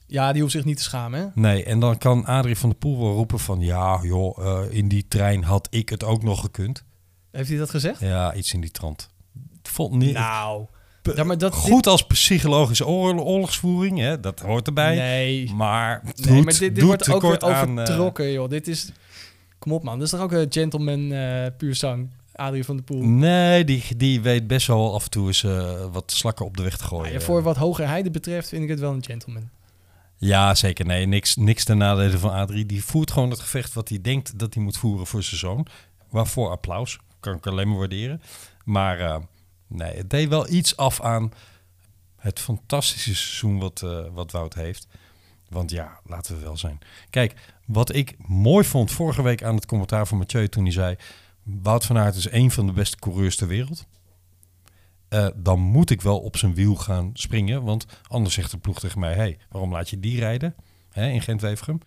Speaker 2: Ja, die hoeft zich niet te schamen. Hè?
Speaker 1: Nee, en dan kan Adrie van der Poel wel roepen van... ja, joh, eh, in die trein had ik het ook nog gekund.
Speaker 2: Heeft hij dat gezegd?
Speaker 1: Ja, iets in die trant. Het Vond niet,
Speaker 2: Nou, Ja, maar dat,
Speaker 1: Goed als psychologische oorlog- oorlogsvoering, hè, dat hoort erbij.
Speaker 2: Nee.
Speaker 1: Maar doet,
Speaker 2: Nee, maar dit, dit
Speaker 1: doet
Speaker 2: wordt ook weer
Speaker 1: tekort aan, eh,
Speaker 2: overtrokken, joh. Dit is... Kom op, man. Dit is toch ook een gentleman eh puur zang? Adrie van der Poel.
Speaker 1: Nou, nee, die, die weet best wel af en toe eens eh, wat slakken op de weg te gooien.
Speaker 2: Ja, voor wat hoger heide betreft vind ik het wel een gentleman.
Speaker 1: Ja, zeker. Nee, niks, niks ten nadele van Adrie. Die voert gewoon het gevecht wat hij denkt dat hij moet voeren voor zijn zoon. Waarvoor applaus. Kan ik alleen maar waarderen. Maar eh, nee, het deed wel iets af aan het fantastische seizoen wat, eh, wat Wout heeft. Want ja, laten we wel zijn. Kijk, wat ik mooi vond vorige week aan het commentaar van Mathieu toen hij zei... Wout van Aert is één van de beste coureurs ter wereld. Eh, dan moet ik wel op zijn wiel gaan springen. Want anders zegt de ploeg tegen mij: hey, waarom laat je die rijden hè, in Gent-Wevergem?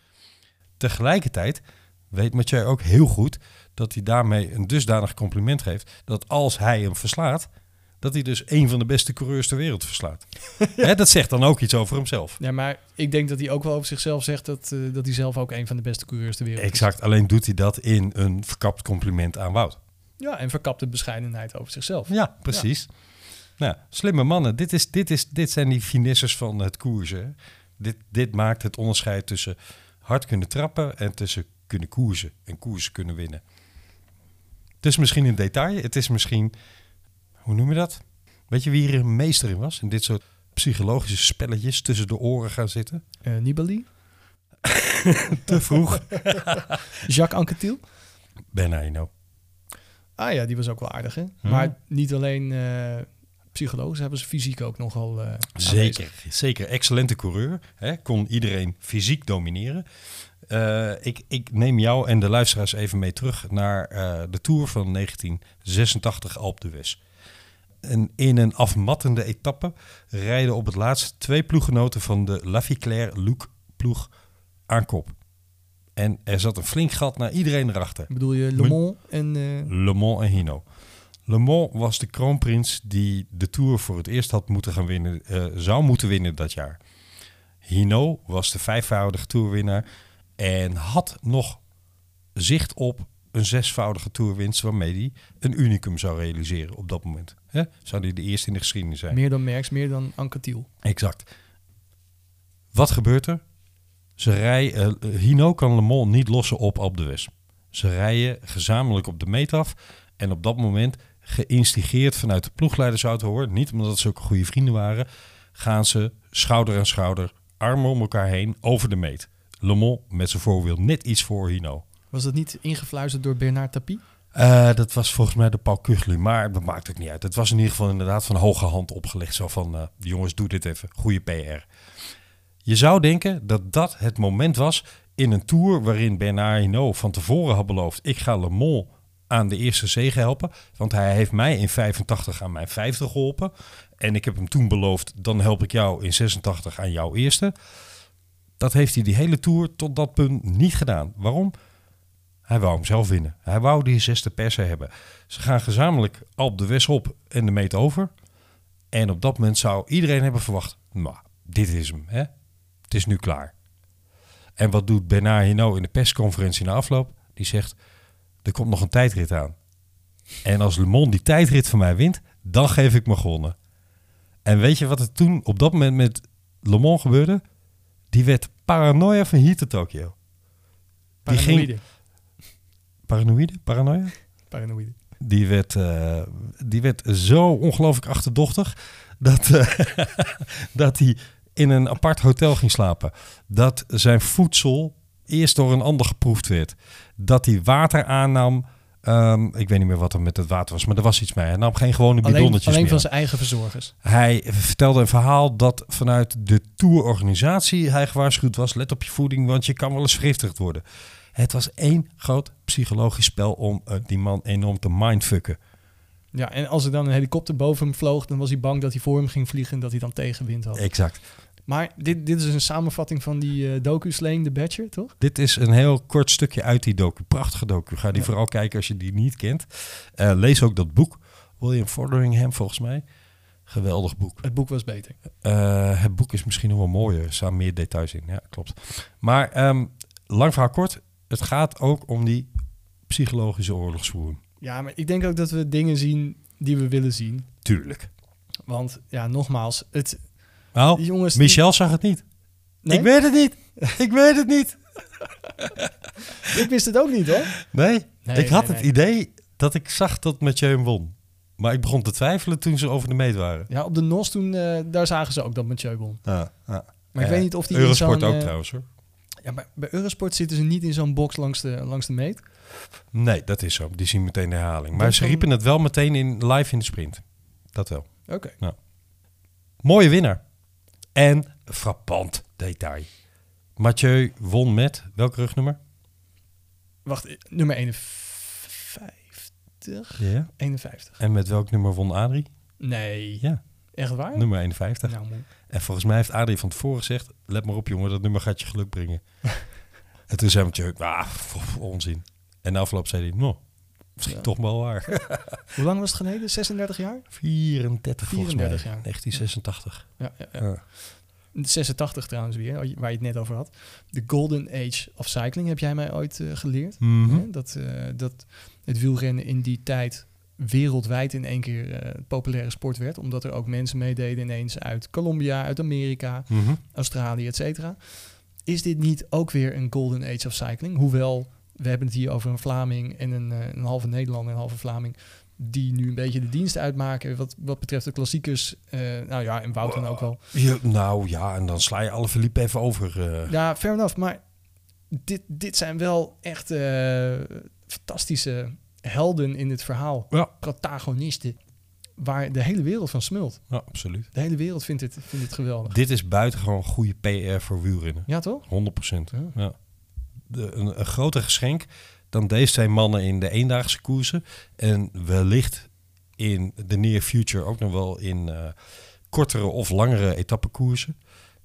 Speaker 1: Tegelijkertijd weet Mathieu ook heel goed dat hij daarmee een dusdanig compliment geeft. dat als hij hem verslaat, dat hij dus een van de beste coureurs ter wereld verslaat. Hè, dat zegt dan ook iets over hemzelf.
Speaker 2: Ja, maar ik denk dat hij ook wel over zichzelf zegt dat, eh, dat hij zelf ook een van de beste coureurs ter wereld is.
Speaker 1: Exact, alleen doet hij dat in een verkapt compliment aan Wout.
Speaker 2: Ja, en verkapte bescheidenheid over zichzelf.
Speaker 1: Ja, precies. Nou, slimme mannen. Dit, is, dit, is, dit zijn die finesses van het koersen. hè. Dit, dit maakt het onderscheid tussen hard kunnen trappen en tussen kunnen koersen en koersen kunnen winnen. Het is misschien een detail. Het is misschien, hoe noem je dat? Weet je wie hier een meester in was? In dit soort psychologische spelletjes tussen de oren gaan zitten.
Speaker 2: Eh, Nibali,
Speaker 1: Te vroeg.
Speaker 2: Jacques Anquetil.
Speaker 1: Ben Aino.
Speaker 2: Ah ja, die was ook wel aardig, hè?
Speaker 1: Hm?
Speaker 2: Maar niet alleen eh psycholoog, ze hebben ze fysiek ook nogal eh aanwezig.
Speaker 1: Zeker, zeker. Excellente coureur. Hè? Kon iedereen fysiek domineren. Eh, ik, ik neem jou en de luisteraars even mee terug naar eh, de Tour van 1986 Alpe d'Huez. En in een afmattende etappe rijden op het laatst twee ploeggenoten van de Laficlair Luc ploeg aan kop. En er zat een flink gat naar iedereen erachter.
Speaker 2: Bedoel je Le Mans en... eh,
Speaker 1: Le Mans en Hino. Le Mans was de kroonprins die de Tour voor het eerst had moeten gaan winnen, eh, zou moeten winnen dat jaar. Hino was de vijfvoudige Tourwinnaar en had nog zicht op een zesvoudige Tourwinst waarmee hij een unicum zou realiseren op dat moment. Hè? Zou hij de eerste in de geschiedenis zijn.
Speaker 2: Meer dan Merckx, meer dan Anquetil.
Speaker 1: Exact. Wat gebeurt er? Ze rijden, eh, Hino kan Le Mans niet lossen op Alpe d'Huez. Ze rijden gezamenlijk op de meet af. En op dat moment, geïnstigeerd vanuit de ploegleidersauto hoor, niet omdat ze zulke goede vrienden waren, gaan ze schouder aan schouder, armen om elkaar heen, over de meet. Le Mans met zijn voorwiel net iets voor Hino.
Speaker 2: Was dat niet ingefluisterd door Bernard Tapie?
Speaker 1: Eh, dat was volgens mij de Paul Kuchli, maar dat maakt ook niet uit. Het was in ieder geval inderdaad van hoge hand opgelegd. Zo van, eh, jongens, doe dit even. Goede PR. Je zou denken dat dat het moment was in een tour waarin Bernard Hinault van tevoren had beloofd... ik ga Le Mans aan de eerste zege helpen. Want hij heeft mij in 85 aan mijn vijfde geholpen. En ik heb hem toen beloofd, dan help ik jou in 86 aan jouw eerste. Dat heeft hij die hele tour tot dat punt niet gedaan. Waarom? Hij wou hem zelf winnen. Hij wou die zesde persen hebben. Ze gaan gezamenlijk Alp de West op en de meet over. En op dat moment zou iedereen hebben verwacht... Nou, dit is hem. Hè? Het is nu klaar. En wat doet Bernard Hinault in de persconferentie na afloop? Die zegt, er komt nog een tijdrit aan. En als Le Mans die tijdrit van mij wint, dan geef ik me gewonnen. En weet je wat er toen op dat moment met Le Mans gebeurde? Die werd paranoia van hier te Tokio. Die ging-
Speaker 2: Paranoïde.
Speaker 1: Paranoïde? Paranoia?
Speaker 2: Paranoïde.
Speaker 1: Die werd, eh, die werd zo ongelooflijk achterdochtig dat, eh, dat hij in een apart hotel ging slapen. Dat zijn voedsel eerst door een ander geproefd werd. Dat hij water aannam. Ehm, ik weet niet meer wat er met het water was, maar er was iets mee. Hij nam geen gewone
Speaker 2: Alleen,
Speaker 1: bidonnetjes
Speaker 2: alleen
Speaker 1: meer.
Speaker 2: van zijn eigen verzorgers.
Speaker 1: Hij vertelde een verhaal dat vanuit de tourorganisatie hij gewaarschuwd was. Let op je voeding, want je kan wel eens vergiftigd worden. Het was één groot psychologisch spel om eh, die man enorm te mindfucken.
Speaker 2: Ja, en als er dan een helikopter boven hem vloog, dan was hij bang dat hij voor hem ging vliegen en dat hij dan tegenwind had.
Speaker 1: Exact.
Speaker 2: Maar dit, dit is een samenvatting van die eh, docu Slaying the Badger, toch?
Speaker 1: Dit is een heel kort stukje uit die docu. Prachtige docu. Ga die vooral kijken als je die niet kent. Eh, lees ook dat boek. William Fotheringham, volgens mij. Geweldig boek.
Speaker 2: Het boek was beter.
Speaker 1: Eh, het boek is misschien nog wel mooier. Er staan meer details in. Ja, klopt. Maar ehm, lang verhaal kort. Het gaat ook om die psychologische oorlogsvoering.
Speaker 2: Ja, maar ik denk ook dat we dingen zien die we willen zien.
Speaker 1: Tuurlijk.
Speaker 2: Want ja, nogmaals, het,
Speaker 1: Nou,
Speaker 2: die jongens... die-
Speaker 1: Michel zag het niet.
Speaker 2: Nee?
Speaker 1: Ik weet het niet. Ik weet het niet.
Speaker 2: ik wist het ook niet hoor.
Speaker 1: Nee,
Speaker 2: Nee,
Speaker 1: ik had
Speaker 2: nee,
Speaker 1: het
Speaker 2: nee.
Speaker 1: idee dat ik zag dat Mathieu hem won. Maar ik begon te twijfelen toen ze over de meet waren.
Speaker 2: Ja, op de NOS toen, eh, daar zagen ze ook dat Mathieu won.
Speaker 1: Ja, ja.
Speaker 2: Maar ik
Speaker 1: Ja,
Speaker 2: weet niet of die in
Speaker 1: Eurosport
Speaker 2: zo'n,
Speaker 1: ook
Speaker 2: eh,
Speaker 1: trouwens hoor.
Speaker 2: Ja, maar bij Eurosport zitten ze niet in zo'n box langs de, langs de meet.
Speaker 1: Nee, dat is zo. Die zien meteen de herhaling. Maar
Speaker 2: Dat
Speaker 1: ze
Speaker 2: kan-
Speaker 1: riepen het wel meteen in, live in de sprint. Dat wel.
Speaker 2: Oké.
Speaker 1: Mooie winnaar. En frappant detail. Mathieu won met welk rugnummer?
Speaker 2: Wacht, eh, nummer 51?
Speaker 1: Ja.
Speaker 2: 51.
Speaker 1: En met welk nummer won Adrie?
Speaker 2: Nee.
Speaker 1: Ja,
Speaker 2: Echt waar?
Speaker 1: nummer 51.
Speaker 2: Nou, moe.
Speaker 1: En volgens mij heeft Adrie van tevoren gezegd... let maar op jongen, dat nummer gaat je geluk brengen. en toen zei Mathieu, ah, pff, onzin. En de afloop zei hij, nou, misschien toch wel waar.
Speaker 2: Hoe lang was het geleden? 36 jaar?
Speaker 1: 34 volgens mij,
Speaker 2: 34, ja.
Speaker 1: 1986.
Speaker 2: Ja, ja, ja.
Speaker 1: Ja.
Speaker 2: 86 trouwens weer, waar je het net over had. De Golden Age of Cycling heb jij mij ooit eh, geleerd.
Speaker 1: Mhm.
Speaker 2: Hè? Dat, eh, dat het wielrennen in die tijd wereldwijd in één keer eh, een populaire sport werd. Omdat er ook mensen meededen ineens uit Colombia, uit Amerika,
Speaker 1: Mhm.
Speaker 2: Australië, et cetera. Is dit niet ook weer een Golden Age of Cycling? Hoewel, we hebben het hier over een Vlaming en een, eh, een halve Nederlander en een halve Vlaming... die nu een beetje de dienst uitmaken wat, wat betreft de klassiekers. eh, nou ja, en Wout dan ook wel.
Speaker 1: Ja, nou ja, en dan sla je alle verliep even over. eh.
Speaker 2: Ja, fair enough. Maar dit, dit zijn wel echt eh, fantastische helden in het verhaal.
Speaker 1: Ja.
Speaker 2: Protagonisten. Waar de hele wereld van smult.
Speaker 1: ja, absoluut.
Speaker 2: De hele wereld vindt het, vindt het geweldig.
Speaker 1: Dit is buitengewoon goede PR voor wielrennen.
Speaker 2: Ja, toch?
Speaker 1: 100 procent. Ja. De- Een, een groter geschenk dan deze twee mannen in de eendaagse koersen. En wellicht in de near future ook nog wel in eh, kortere of langere etappekoersen.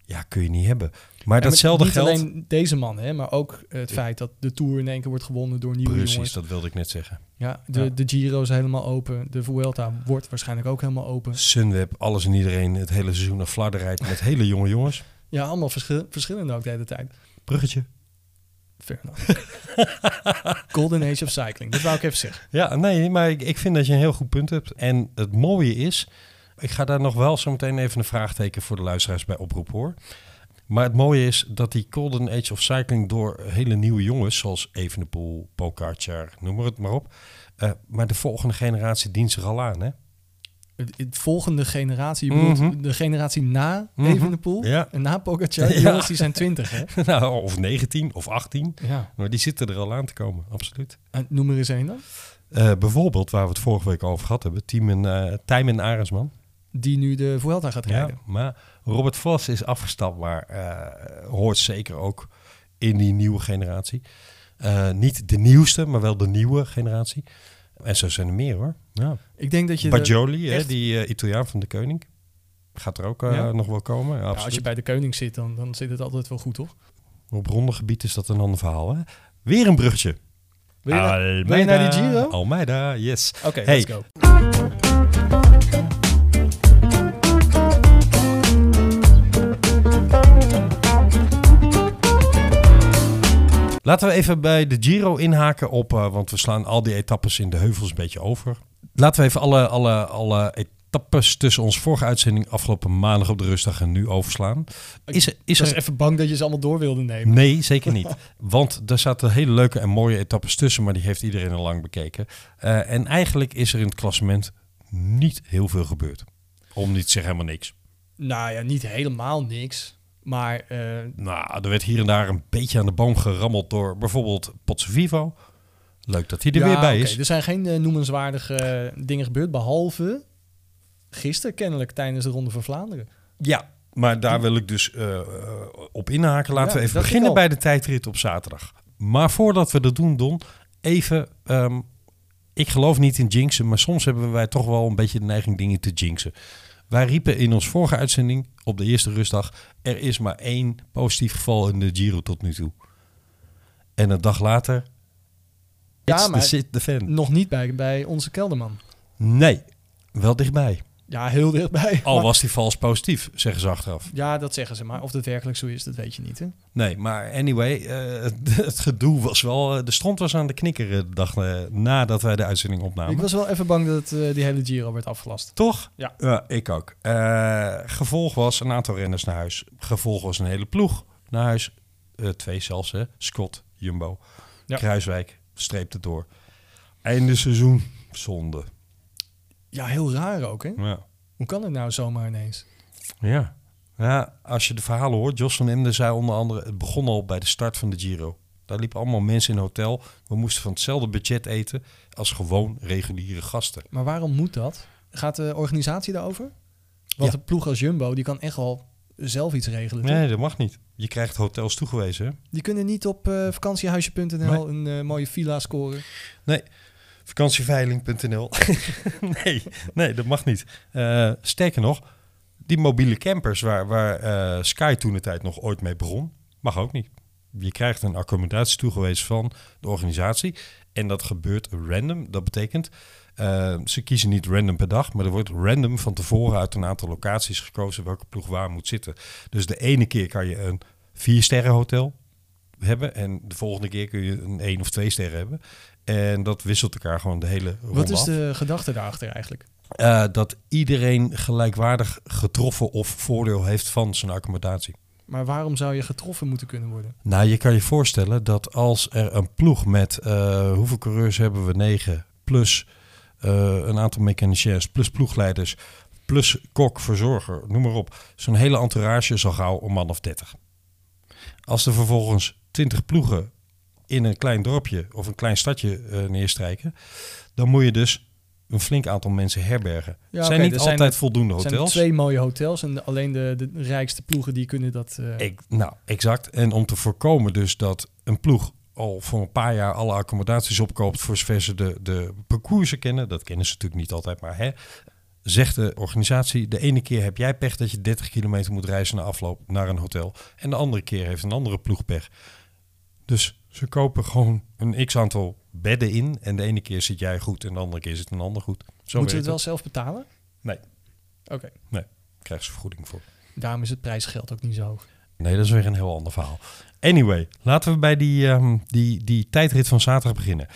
Speaker 1: Ja, kun je niet hebben. Maar
Speaker 2: Ja,
Speaker 1: datzelfde
Speaker 2: niet
Speaker 1: geldt...
Speaker 2: alleen deze man, hè, maar ook het feit dat de Tour in één keer wordt gewonnen door nieuwe
Speaker 1: Precies,
Speaker 2: jongens.
Speaker 1: dat wilde ik net zeggen.
Speaker 2: Ja, de,
Speaker 1: Ja.
Speaker 2: de Giro is helemaal open. De Vuelta wordt waarschijnlijk ook helemaal open.
Speaker 1: Sunweb, alles en iedereen, het hele seizoen naar flarden rijdt met hele jonge jongens.
Speaker 2: Ja, allemaal verschil- verschillende ook de hele tijd.
Speaker 1: Bruggetje.
Speaker 2: Fair enough. Golden Age of Cycling. Dat wou ik even zeggen.
Speaker 1: Ja, nee, maar ik, ik vind dat je een heel goed punt hebt. En het mooie is, ik ga daar nog wel zo meteen even een vraagteken voor de luisteraars bij oproepen hoor. Maar het mooie is dat die Golden Age of Cycling door hele nieuwe jongens, zoals Evenepoel, Pogacar, noem maar het maar op. eh, maar de volgende generatie dient zich al aan, hè?
Speaker 2: Het- het volgende generatie, je bedoelt
Speaker 1: Mhm.
Speaker 2: de generatie na
Speaker 1: Mhm.
Speaker 2: Evenepoel
Speaker 1: Ja.
Speaker 2: en na Pogacar, die
Speaker 1: Ja.
Speaker 2: jongens die zijn twintig, hè?
Speaker 1: nou, of 19 of 18.
Speaker 2: Ja.
Speaker 1: Maar die zitten er al aan te komen, absoluut.
Speaker 2: En noem er eens één dan.
Speaker 1: Eh, bijvoorbeeld, waar we het vorige week over gehad hebben, Team en, eh Tijmen en Arendsman.
Speaker 2: Die nu de Vuelta gaat
Speaker 1: Ja,
Speaker 2: rijden.
Speaker 1: maar Robert Vos is afgestapt, maar eh, hoort zeker ook in die nieuwe generatie. Eh, niet de nieuwste, maar wel de nieuwe generatie. En zo zijn er meer hoor. Ja.
Speaker 2: Ik denk dat je... de-
Speaker 1: Bajoli, hè,
Speaker 2: echt-
Speaker 1: die eh, Italiaan van de Koning. Gaat er ook eh,
Speaker 2: Ja?
Speaker 1: nog wel komen. Ja,
Speaker 2: Ja, als
Speaker 1: absoluut.
Speaker 2: je bij de koning zit, dan, dan zit het altijd wel goed, toch?
Speaker 1: Op rondegebied is dat een ander verhaal. Hè? Weer een bruggetje.
Speaker 2: Wil je, naar- wil je
Speaker 1: Almeida.
Speaker 2: naar die Giro? Oké,
Speaker 1: Almeida, yes.
Speaker 2: let's go.
Speaker 1: Laten we even bij de Giro inhaken op, eh, want we slaan al die etappes in de heuvels een beetje over. Laten we even alle, alle, alle etappes tussen onze vorige uitzending afgelopen maandag op de rustdag en nu overslaan. Is, er-
Speaker 2: Ik
Speaker 1: is
Speaker 2: was
Speaker 1: er...
Speaker 2: even bang dat je ze allemaal door wilde nemen.
Speaker 1: Nee, zeker niet. Want daar zaten hele leuke en mooie etappes tussen, maar die heeft iedereen al lang bekeken. Eh, en eigenlijk is er in het klassement niet heel veel gebeurd. Om niet te zeggen helemaal niks.
Speaker 2: Nou ja, niet helemaal niks. Maar eh,
Speaker 1: Nou, er werd hier en daar een beetje aan de boom gerammeld door bijvoorbeeld Potse Vivo. Leuk dat hij er
Speaker 2: ja,
Speaker 1: weer bij
Speaker 2: oké,
Speaker 1: is.
Speaker 2: Er zijn geen eh, noemenswaardige eh, dingen gebeurd, behalve gisteren kennelijk tijdens de Ronde van Vlaanderen.
Speaker 1: Ja, maar daar wil ik dus eh, eh, op inhaken. Laten
Speaker 2: Ja,
Speaker 1: we even
Speaker 2: dacht ik
Speaker 1: beginnen
Speaker 2: al.
Speaker 1: bij de tijdrit op zaterdag. Maar voordat we dat doen, Don, even... ehm, ik geloof niet in jinxen, maar soms hebben wij toch wel een beetje de neiging dingen te jinxen. Wij riepen in ons vorige uitzending op de eerste rustdag... er is maar één positief geval in de Giro tot nu toe. En een dag later...
Speaker 2: Ja,
Speaker 1: Ja, maar...
Speaker 2: maar-
Speaker 1: the fan.
Speaker 2: Nog niet bij, bij onze kelderman.
Speaker 1: Nee, wel dichtbij.
Speaker 2: Ja, heel dichtbij.
Speaker 1: Al
Speaker 2: Maar-
Speaker 1: was hij vals positief, zeggen ze achteraf.
Speaker 2: Ja, dat zeggen ze. Maar of dat werkelijk zo is, dat weet je niet. Hè?
Speaker 1: Nee, maar anyway, eh, het gedoe was wel... eh, de stront was aan de knikkeren de dag eh, nadat wij de uitzending opnamen.
Speaker 2: Ik was wel even bang dat eh, die hele Giro werd afgelast.
Speaker 1: Toch?
Speaker 2: Ja.
Speaker 1: ik ook. Eh, gevolg was een aantal renners naar huis. Gevolg was een hele ploeg naar huis. Eh, twee zelfs, hè. Scott, Jumbo,
Speaker 2: Ja.
Speaker 1: Kruiswijk, streepte door. Einde seizoen, zonde.
Speaker 2: Ja, heel raar ook, hè?
Speaker 1: Ja.
Speaker 2: Hoe kan het nou zomaar ineens?
Speaker 1: Ja. ja. Als je de verhalen hoort, Jos van Emden zei onder andere... het begon al bij de start van de Giro. Daar liepen allemaal mensen in een hotel. We moesten van hetzelfde budget eten als gewoon reguliere gasten.
Speaker 2: Maar waarom moet dat? Gaat de organisatie daarover? Want
Speaker 1: Ja.
Speaker 2: de ploeg als Jumbo, die kan echt wel zelf iets regelen. toch?
Speaker 1: Nee, dat mag niet. Je krijgt hotels toegewezen, hè?
Speaker 2: Die kunnen niet op eh, vakantiehuisje.nl een eh, mooie villa scoren.
Speaker 1: Nee. Vakantieveiling.nl. nee, nee, dat mag niet. Eh, sterker nog, die mobiele campers waar, waar eh, Sky toen de tijd nog ooit mee begon, mag ook niet. Je krijgt een accommodatie toegewezen van de organisatie. En dat gebeurt random. Dat betekent, eh, ze kiezen niet random per dag, maar er wordt random van tevoren uit een aantal locaties gekozen welke ploeg waar moet zitten. Dus de ene keer kan je een vier sterren hotel hebben en de volgende keer kun je een één of twee sterren hebben. En dat wisselt elkaar gewoon de hele ronde
Speaker 2: Wat is
Speaker 1: af.
Speaker 2: de gedachte daarachter eigenlijk?
Speaker 1: Eh, dat iedereen gelijkwaardig getroffen of voordeel heeft van zijn accommodatie.
Speaker 2: Maar waarom zou je getroffen moeten kunnen worden?
Speaker 1: Nou, je kan je voorstellen dat als er een ploeg met eh, hoeveel coureurs hebben we? 9 plus eh, een aantal mechaniciens, plus ploegleiders, plus kok, verzorger, noem maar op. Zo'n hele entourage is al gauw een man of 30. Als er vervolgens 20 ploegen in een klein dorpje of een klein stadje eh, neerstrijken, dan moet je dus een flink aantal mensen herbergen.
Speaker 2: Ja,
Speaker 1: zijn
Speaker 2: oké,
Speaker 1: niet
Speaker 2: er zijn
Speaker 1: altijd
Speaker 2: er-
Speaker 1: voldoende
Speaker 2: Er
Speaker 1: hotels.
Speaker 2: zijn twee mooie hotels en de- alleen de, de rijkste ploegen die kunnen dat... eh,
Speaker 1: Ik, nou, exact. En om te voorkomen dus dat een ploeg al voor een paar jaar alle accommodaties opkoopt voor zover ze de, de parcoursen kennen. Dat kennen ze natuurlijk niet altijd, maar hè, zegt de organisatie, de ene keer heb jij pech dat je 30 kilometer moet reizen na afloop naar een hotel. En de andere keer heeft een andere ploeg pech. Dus ze kopen gewoon een x-aantal bedden in en de ene keer zit jij goed en de andere keer zit een ander goed. Zo
Speaker 2: moeten we
Speaker 1: werkt
Speaker 2: het wel zelf betalen?
Speaker 1: Nee,
Speaker 2: Oké.
Speaker 1: nee, krijg ze vergoeding voor.
Speaker 2: Daarom is het prijsgeld ook niet zo hoog.
Speaker 1: Nee, dat is weer een heel ander verhaal. Anyway, laten we bij die, ehm, die, die tijdrit van zaterdag beginnen.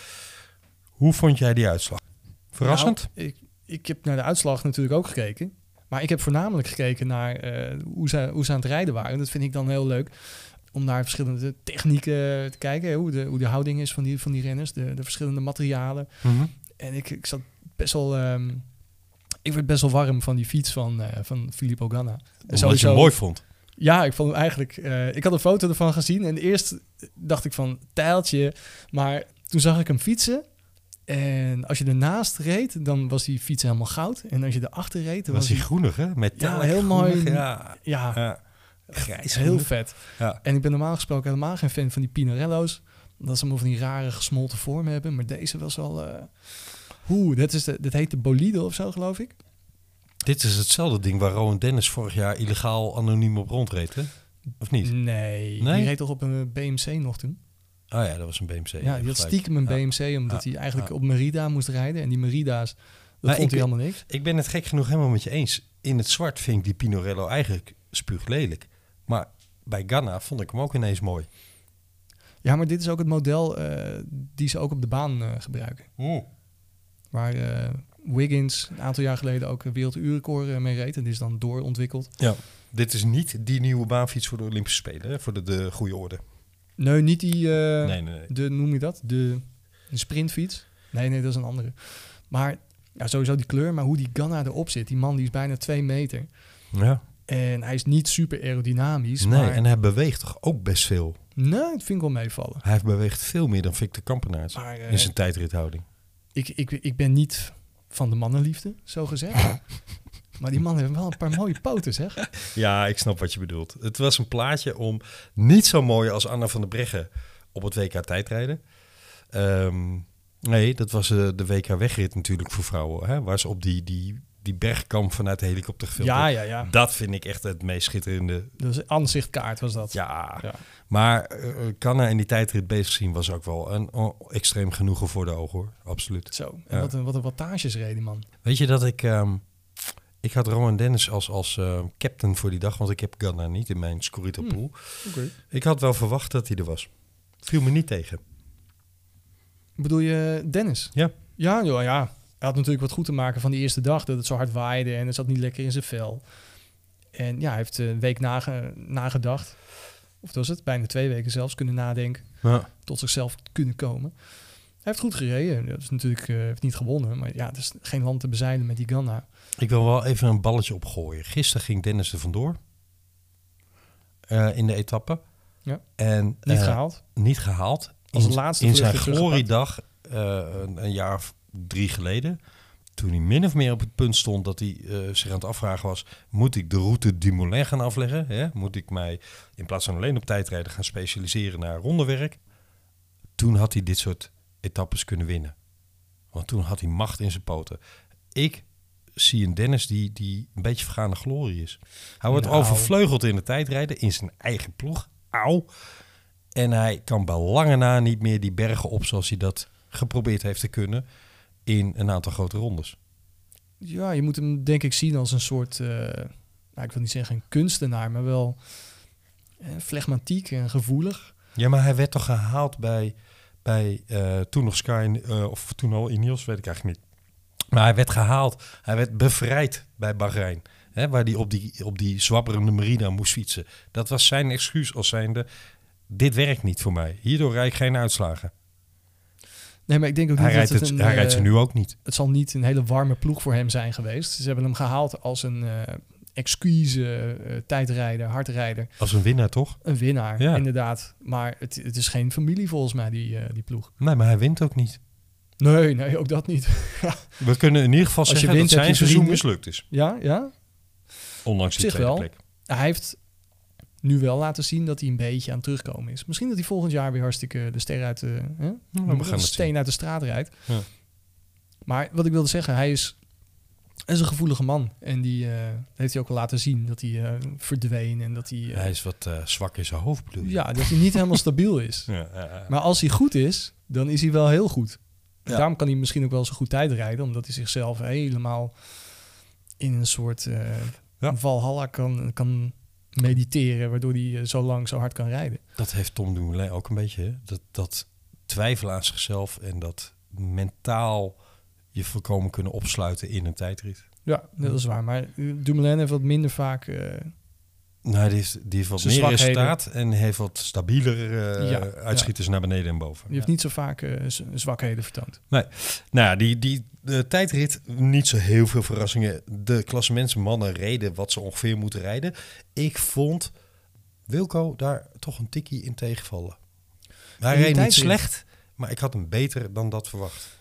Speaker 1: Hoe vond jij die uitslag? Verrassend?
Speaker 2: Nou, ik, ik heb naar de uitslag natuurlijk ook gekeken. Maar ik heb voornamelijk gekeken naar eh, hoe, ze, hoe ze aan het rijden waren. Dat vind ik dan heel leuk. Om naar verschillende technieken te kijken. hè, Hoe de, hoe de houding is van die, van die renners. De, de verschillende materialen. En ik, ik zat best wel... ehm, ik werd best wel warm van die fiets van, eh van Filippo Ganna.
Speaker 1: Omdat je het mooi vond.
Speaker 2: Ja, ik vond hem eigenlijk. eh, ik had een foto ervan gezien en eerst dacht ik van tijltje. Maar toen zag ik hem fietsen. En als je ernaast reed, dan was die fiets helemaal goud. En als je erachter reed,
Speaker 1: Was
Speaker 2: dan was
Speaker 1: hij
Speaker 2: die.
Speaker 1: groenig, hè? Met
Speaker 2: Ja, heel mooi.
Speaker 1: Ja,
Speaker 2: Ja,
Speaker 1: ja. grijs.
Speaker 2: heel
Speaker 1: groenig.
Speaker 2: vet.
Speaker 1: Ja.
Speaker 2: En ik ben normaal gesproken helemaal geen fan van die Pinarello's. Dat ze allemaal van die rare gesmolten vormen hebben. Maar deze was wel. eh Oeh, dat, is de, dat heet de bolide of zo, geloof ik.
Speaker 1: Dit is hetzelfde ding waar Rowan Dennis vorig jaar illegaal anoniem op rondreed, hè? Of
Speaker 2: Mm.
Speaker 1: niet?
Speaker 2: Nee,
Speaker 1: Nee?
Speaker 2: die reed toch op een BMC nog toen?
Speaker 1: Oh ja, dat was een BMC. Je
Speaker 2: Ja,
Speaker 1: hebt
Speaker 2: die had
Speaker 1: gelijk.
Speaker 2: stiekem een
Speaker 1: Ja.
Speaker 2: BMC, omdat
Speaker 1: Ja.
Speaker 2: hij eigenlijk
Speaker 1: Ja.
Speaker 2: op Merida moest rijden. En die Merida's, dat
Speaker 1: Maar
Speaker 2: vond
Speaker 1: ik-
Speaker 2: hij helemaal niks.
Speaker 1: Ik ben het gek genoeg helemaal met je eens. In het zwart vind ik die Pinorello eigenlijk spuuglelijk. Maar bij Ghana vond ik hem ook ineens mooi.
Speaker 2: Ja, maar dit is ook het model eh, die ze ook op de baan eh, gebruiken. Waar eh, Wiggins een aantal jaar geleden ook een werelduurrecord eh, mee reed. En die is dan doorontwikkeld.
Speaker 1: Ja. Dit is niet die nieuwe baanfiets voor de Olympische Spelen, hè? voor de, de goede orde.
Speaker 2: Nee, niet die, eh,
Speaker 1: Nee, nee, nee.
Speaker 2: de, noem je dat? De, de sprintfiets? Nee, nee, dat is een andere. Maar ja, sowieso die kleur, maar hoe die Ganna erop zit. Die man die is bijna twee meter.
Speaker 1: Ja.
Speaker 2: En hij is niet super aerodynamisch.
Speaker 1: Nee,
Speaker 2: maar...
Speaker 1: en hij beweegt toch ook best veel.
Speaker 2: nee, dat vind ik wel meevallen.
Speaker 1: Hij beweegt veel meer dan Victor Kampenaerts
Speaker 2: Maar, eh,
Speaker 1: in zijn tijdrithouding.
Speaker 2: ik, ik, ik ben niet van de mannenliefde, zo gezegd. maar die man heeft wel een paar mooie poten, zeg.
Speaker 1: Ja, ik snap wat je bedoelt. Het was een plaatje om niet zo mooi als Anna van der Breggen op het WK tijdrijden. Ehm, nee, dat was eh, de WK wegrit natuurlijk voor vrouwen. Hè? Waar ze op die, die, die bergkamp vanuit de helikopter gefilmd
Speaker 2: Ja,
Speaker 1: werd.
Speaker 2: ja, ja.
Speaker 1: Dat vind ik echt het meest schitterende
Speaker 2: Dus een aanzichtkaart was dat.
Speaker 1: Ja,
Speaker 2: Ja.
Speaker 1: maar eh, eh, Canna in die tijdrit bezig zien was ook wel een oh, extreem genoegen voor de ogen hoor. Absoluut.
Speaker 2: Zo. En
Speaker 1: Ja.
Speaker 2: wat, een, wat een wattages reed die man.
Speaker 1: Weet je dat ik ehm, Ik had Rowan Dennis als, als eh, captain voor die dag, want ik heb Ghana niet in mijn Scorita pool.
Speaker 2: oké.
Speaker 1: Ik had wel verwacht dat hij er was. Viel me niet tegen.
Speaker 2: Bedoel je Dennis?
Speaker 1: Ja.
Speaker 2: Ja, joh, ja. Hij had natuurlijk wat goed te maken van die eerste dag. Dat het zo hard waaide en het zat niet lekker in zijn vel. En ja, hij heeft eh, een week nage- nagedacht. Of dat was het? Bijna twee weken zelfs kunnen nadenken.
Speaker 1: Ja.
Speaker 2: Tot zichzelf kunnen komen. Hij heeft goed gereden. Dat is natuurlijk eh, heeft niet gewonnen. Maar ja, het is geen land te bezeilen met die Ganna.
Speaker 1: Ik wil wel even een balletje opgooien. Gisteren ging Dennis er vandoor. Eh, in de etappe.
Speaker 2: Ja.
Speaker 1: En,
Speaker 2: Niet
Speaker 1: eh,
Speaker 2: gehaald.
Speaker 1: Niet gehaald.
Speaker 2: Als
Speaker 1: in,
Speaker 2: laatste
Speaker 1: in
Speaker 2: vlucht
Speaker 1: zijn
Speaker 2: weer teruggepakt.
Speaker 1: gloriedag, eh een, een jaar of drie geleden, toen hij min of meer op het punt stond dat hij eh, zich aan het afvragen was, moet ik de route du Moulin gaan afleggen? Hè? Moet ik mij in plaats van alleen op tijdrijden gaan specialiseren naar rondewerk? Toen had hij dit soort etappes kunnen winnen. Want toen had hij macht in zijn poten. Ik zie een Dennis die, die een beetje vergaande glorie is. Hij wordt
Speaker 2: Nou.
Speaker 1: overvleugeld in de tijdrijden in zijn eigen ploeg. Auw. En hij kan bij lange na niet meer die bergen op zoals hij dat geprobeerd heeft te kunnen in een aantal grote rondes.
Speaker 2: Dus Ja, je moet hem denk ik zien als een soort... eh, nou, ik wil niet zeggen een kunstenaar, maar wel eh, flegmatiek en gevoelig.
Speaker 1: Ja, maar hij werd toch gehaald bij, bij eh, toen nog Sky, eh, of toen al Ineos, weet ik eigenlijk niet. Maar hij werd gehaald, hij werd bevrijd bij Bahrein. Hè, waar hij op die, op die zwabberende Merida moest fietsen. Dat was zijn excuus als zijnde, dit werkt niet voor mij. Hierdoor rijd ik geen uitslagen.
Speaker 2: Nee, maar ik denk ook niet
Speaker 1: Hij
Speaker 2: dat
Speaker 1: rijdt, het,
Speaker 2: het een,
Speaker 1: hij rijdt ze
Speaker 2: eh,
Speaker 1: nu ook niet.
Speaker 2: het zal niet een hele warme ploeg voor hem zijn geweest. Ze hebben hem gehaald als een eh exquise eh, tijdrijder, hardrijder.
Speaker 1: Als een winnaar toch?
Speaker 2: Een winnaar,
Speaker 1: Ja.
Speaker 2: inderdaad. Maar het, het is geen familie volgens mij, die, eh, die ploeg.
Speaker 1: Nee, maar hij wint ook niet.
Speaker 2: Nee, nee, ook dat niet.
Speaker 1: We kunnen in ieder geval
Speaker 2: Als je
Speaker 1: zeggen
Speaker 2: wint,
Speaker 1: dat
Speaker 2: heb
Speaker 1: zijn
Speaker 2: je
Speaker 1: seizoen
Speaker 2: vrienden.
Speaker 1: mislukt is.
Speaker 2: ja, ja.
Speaker 1: Ondanks
Speaker 2: Op
Speaker 1: die
Speaker 2: zich
Speaker 1: tweede
Speaker 2: wel.
Speaker 1: plek.
Speaker 2: Hij heeft nu wel laten zien dat hij een beetje aan het terugkomen is. Misschien dat hij volgend jaar weer hartstikke de ster uit de, hè?
Speaker 1: Nou, gaan
Speaker 2: de
Speaker 1: het
Speaker 2: steen
Speaker 1: zien.
Speaker 2: uit de straat rijdt.
Speaker 1: Ja.
Speaker 2: Maar wat ik wilde zeggen, hij is, hij is een gevoelige man. En die eh, dat heeft hij ook al laten zien dat hij eh, verdween en dat hij... eh,
Speaker 1: Hij is wat eh, zwak in zijn hoofd, bedoel je?
Speaker 2: Ja, dat hij niet helemaal stabiel is.
Speaker 1: Ja, ja, ja.
Speaker 2: Maar als hij goed is, dan is hij wel heel goed. Daarom kan hij misschien ook wel zo goed tijd rijden, omdat hij zichzelf helemaal in een soort eh
Speaker 1: Ja.
Speaker 2: valhalla kan, kan mediteren, waardoor hij eh, zo lang, zo hard kan rijden.
Speaker 1: Dat heeft Tom Dumoulin ook een beetje. hè? Dat, dat twijfelen aan zichzelf en dat mentaal je volkomen kunnen opsluiten in een tijdrit.
Speaker 2: Ja, dat is waar. Maar eh, Dumoulin heeft wat minder vaak eh,
Speaker 1: Nou, die heeft, die heeft wat
Speaker 2: Zijn
Speaker 1: meer
Speaker 2: zwakheden.
Speaker 1: resultaat en heeft wat stabieler eh,
Speaker 2: Ja,
Speaker 1: uitschieters naar beneden en boven.
Speaker 2: Die heeft niet zo vaak eh, z- zwakheden vertoond.
Speaker 1: Nee. Nou ja, die, die de tijdrit, niet zo heel veel verrassingen. De klassementsmannen reden wat ze ongeveer moeten rijden. Ik vond Wilco daar toch een tikkie in tegenvallen. Hij
Speaker 2: In
Speaker 1: reed
Speaker 2: die
Speaker 1: niet
Speaker 2: tijdrit?
Speaker 1: slecht, maar ik had hem beter dan dat verwacht.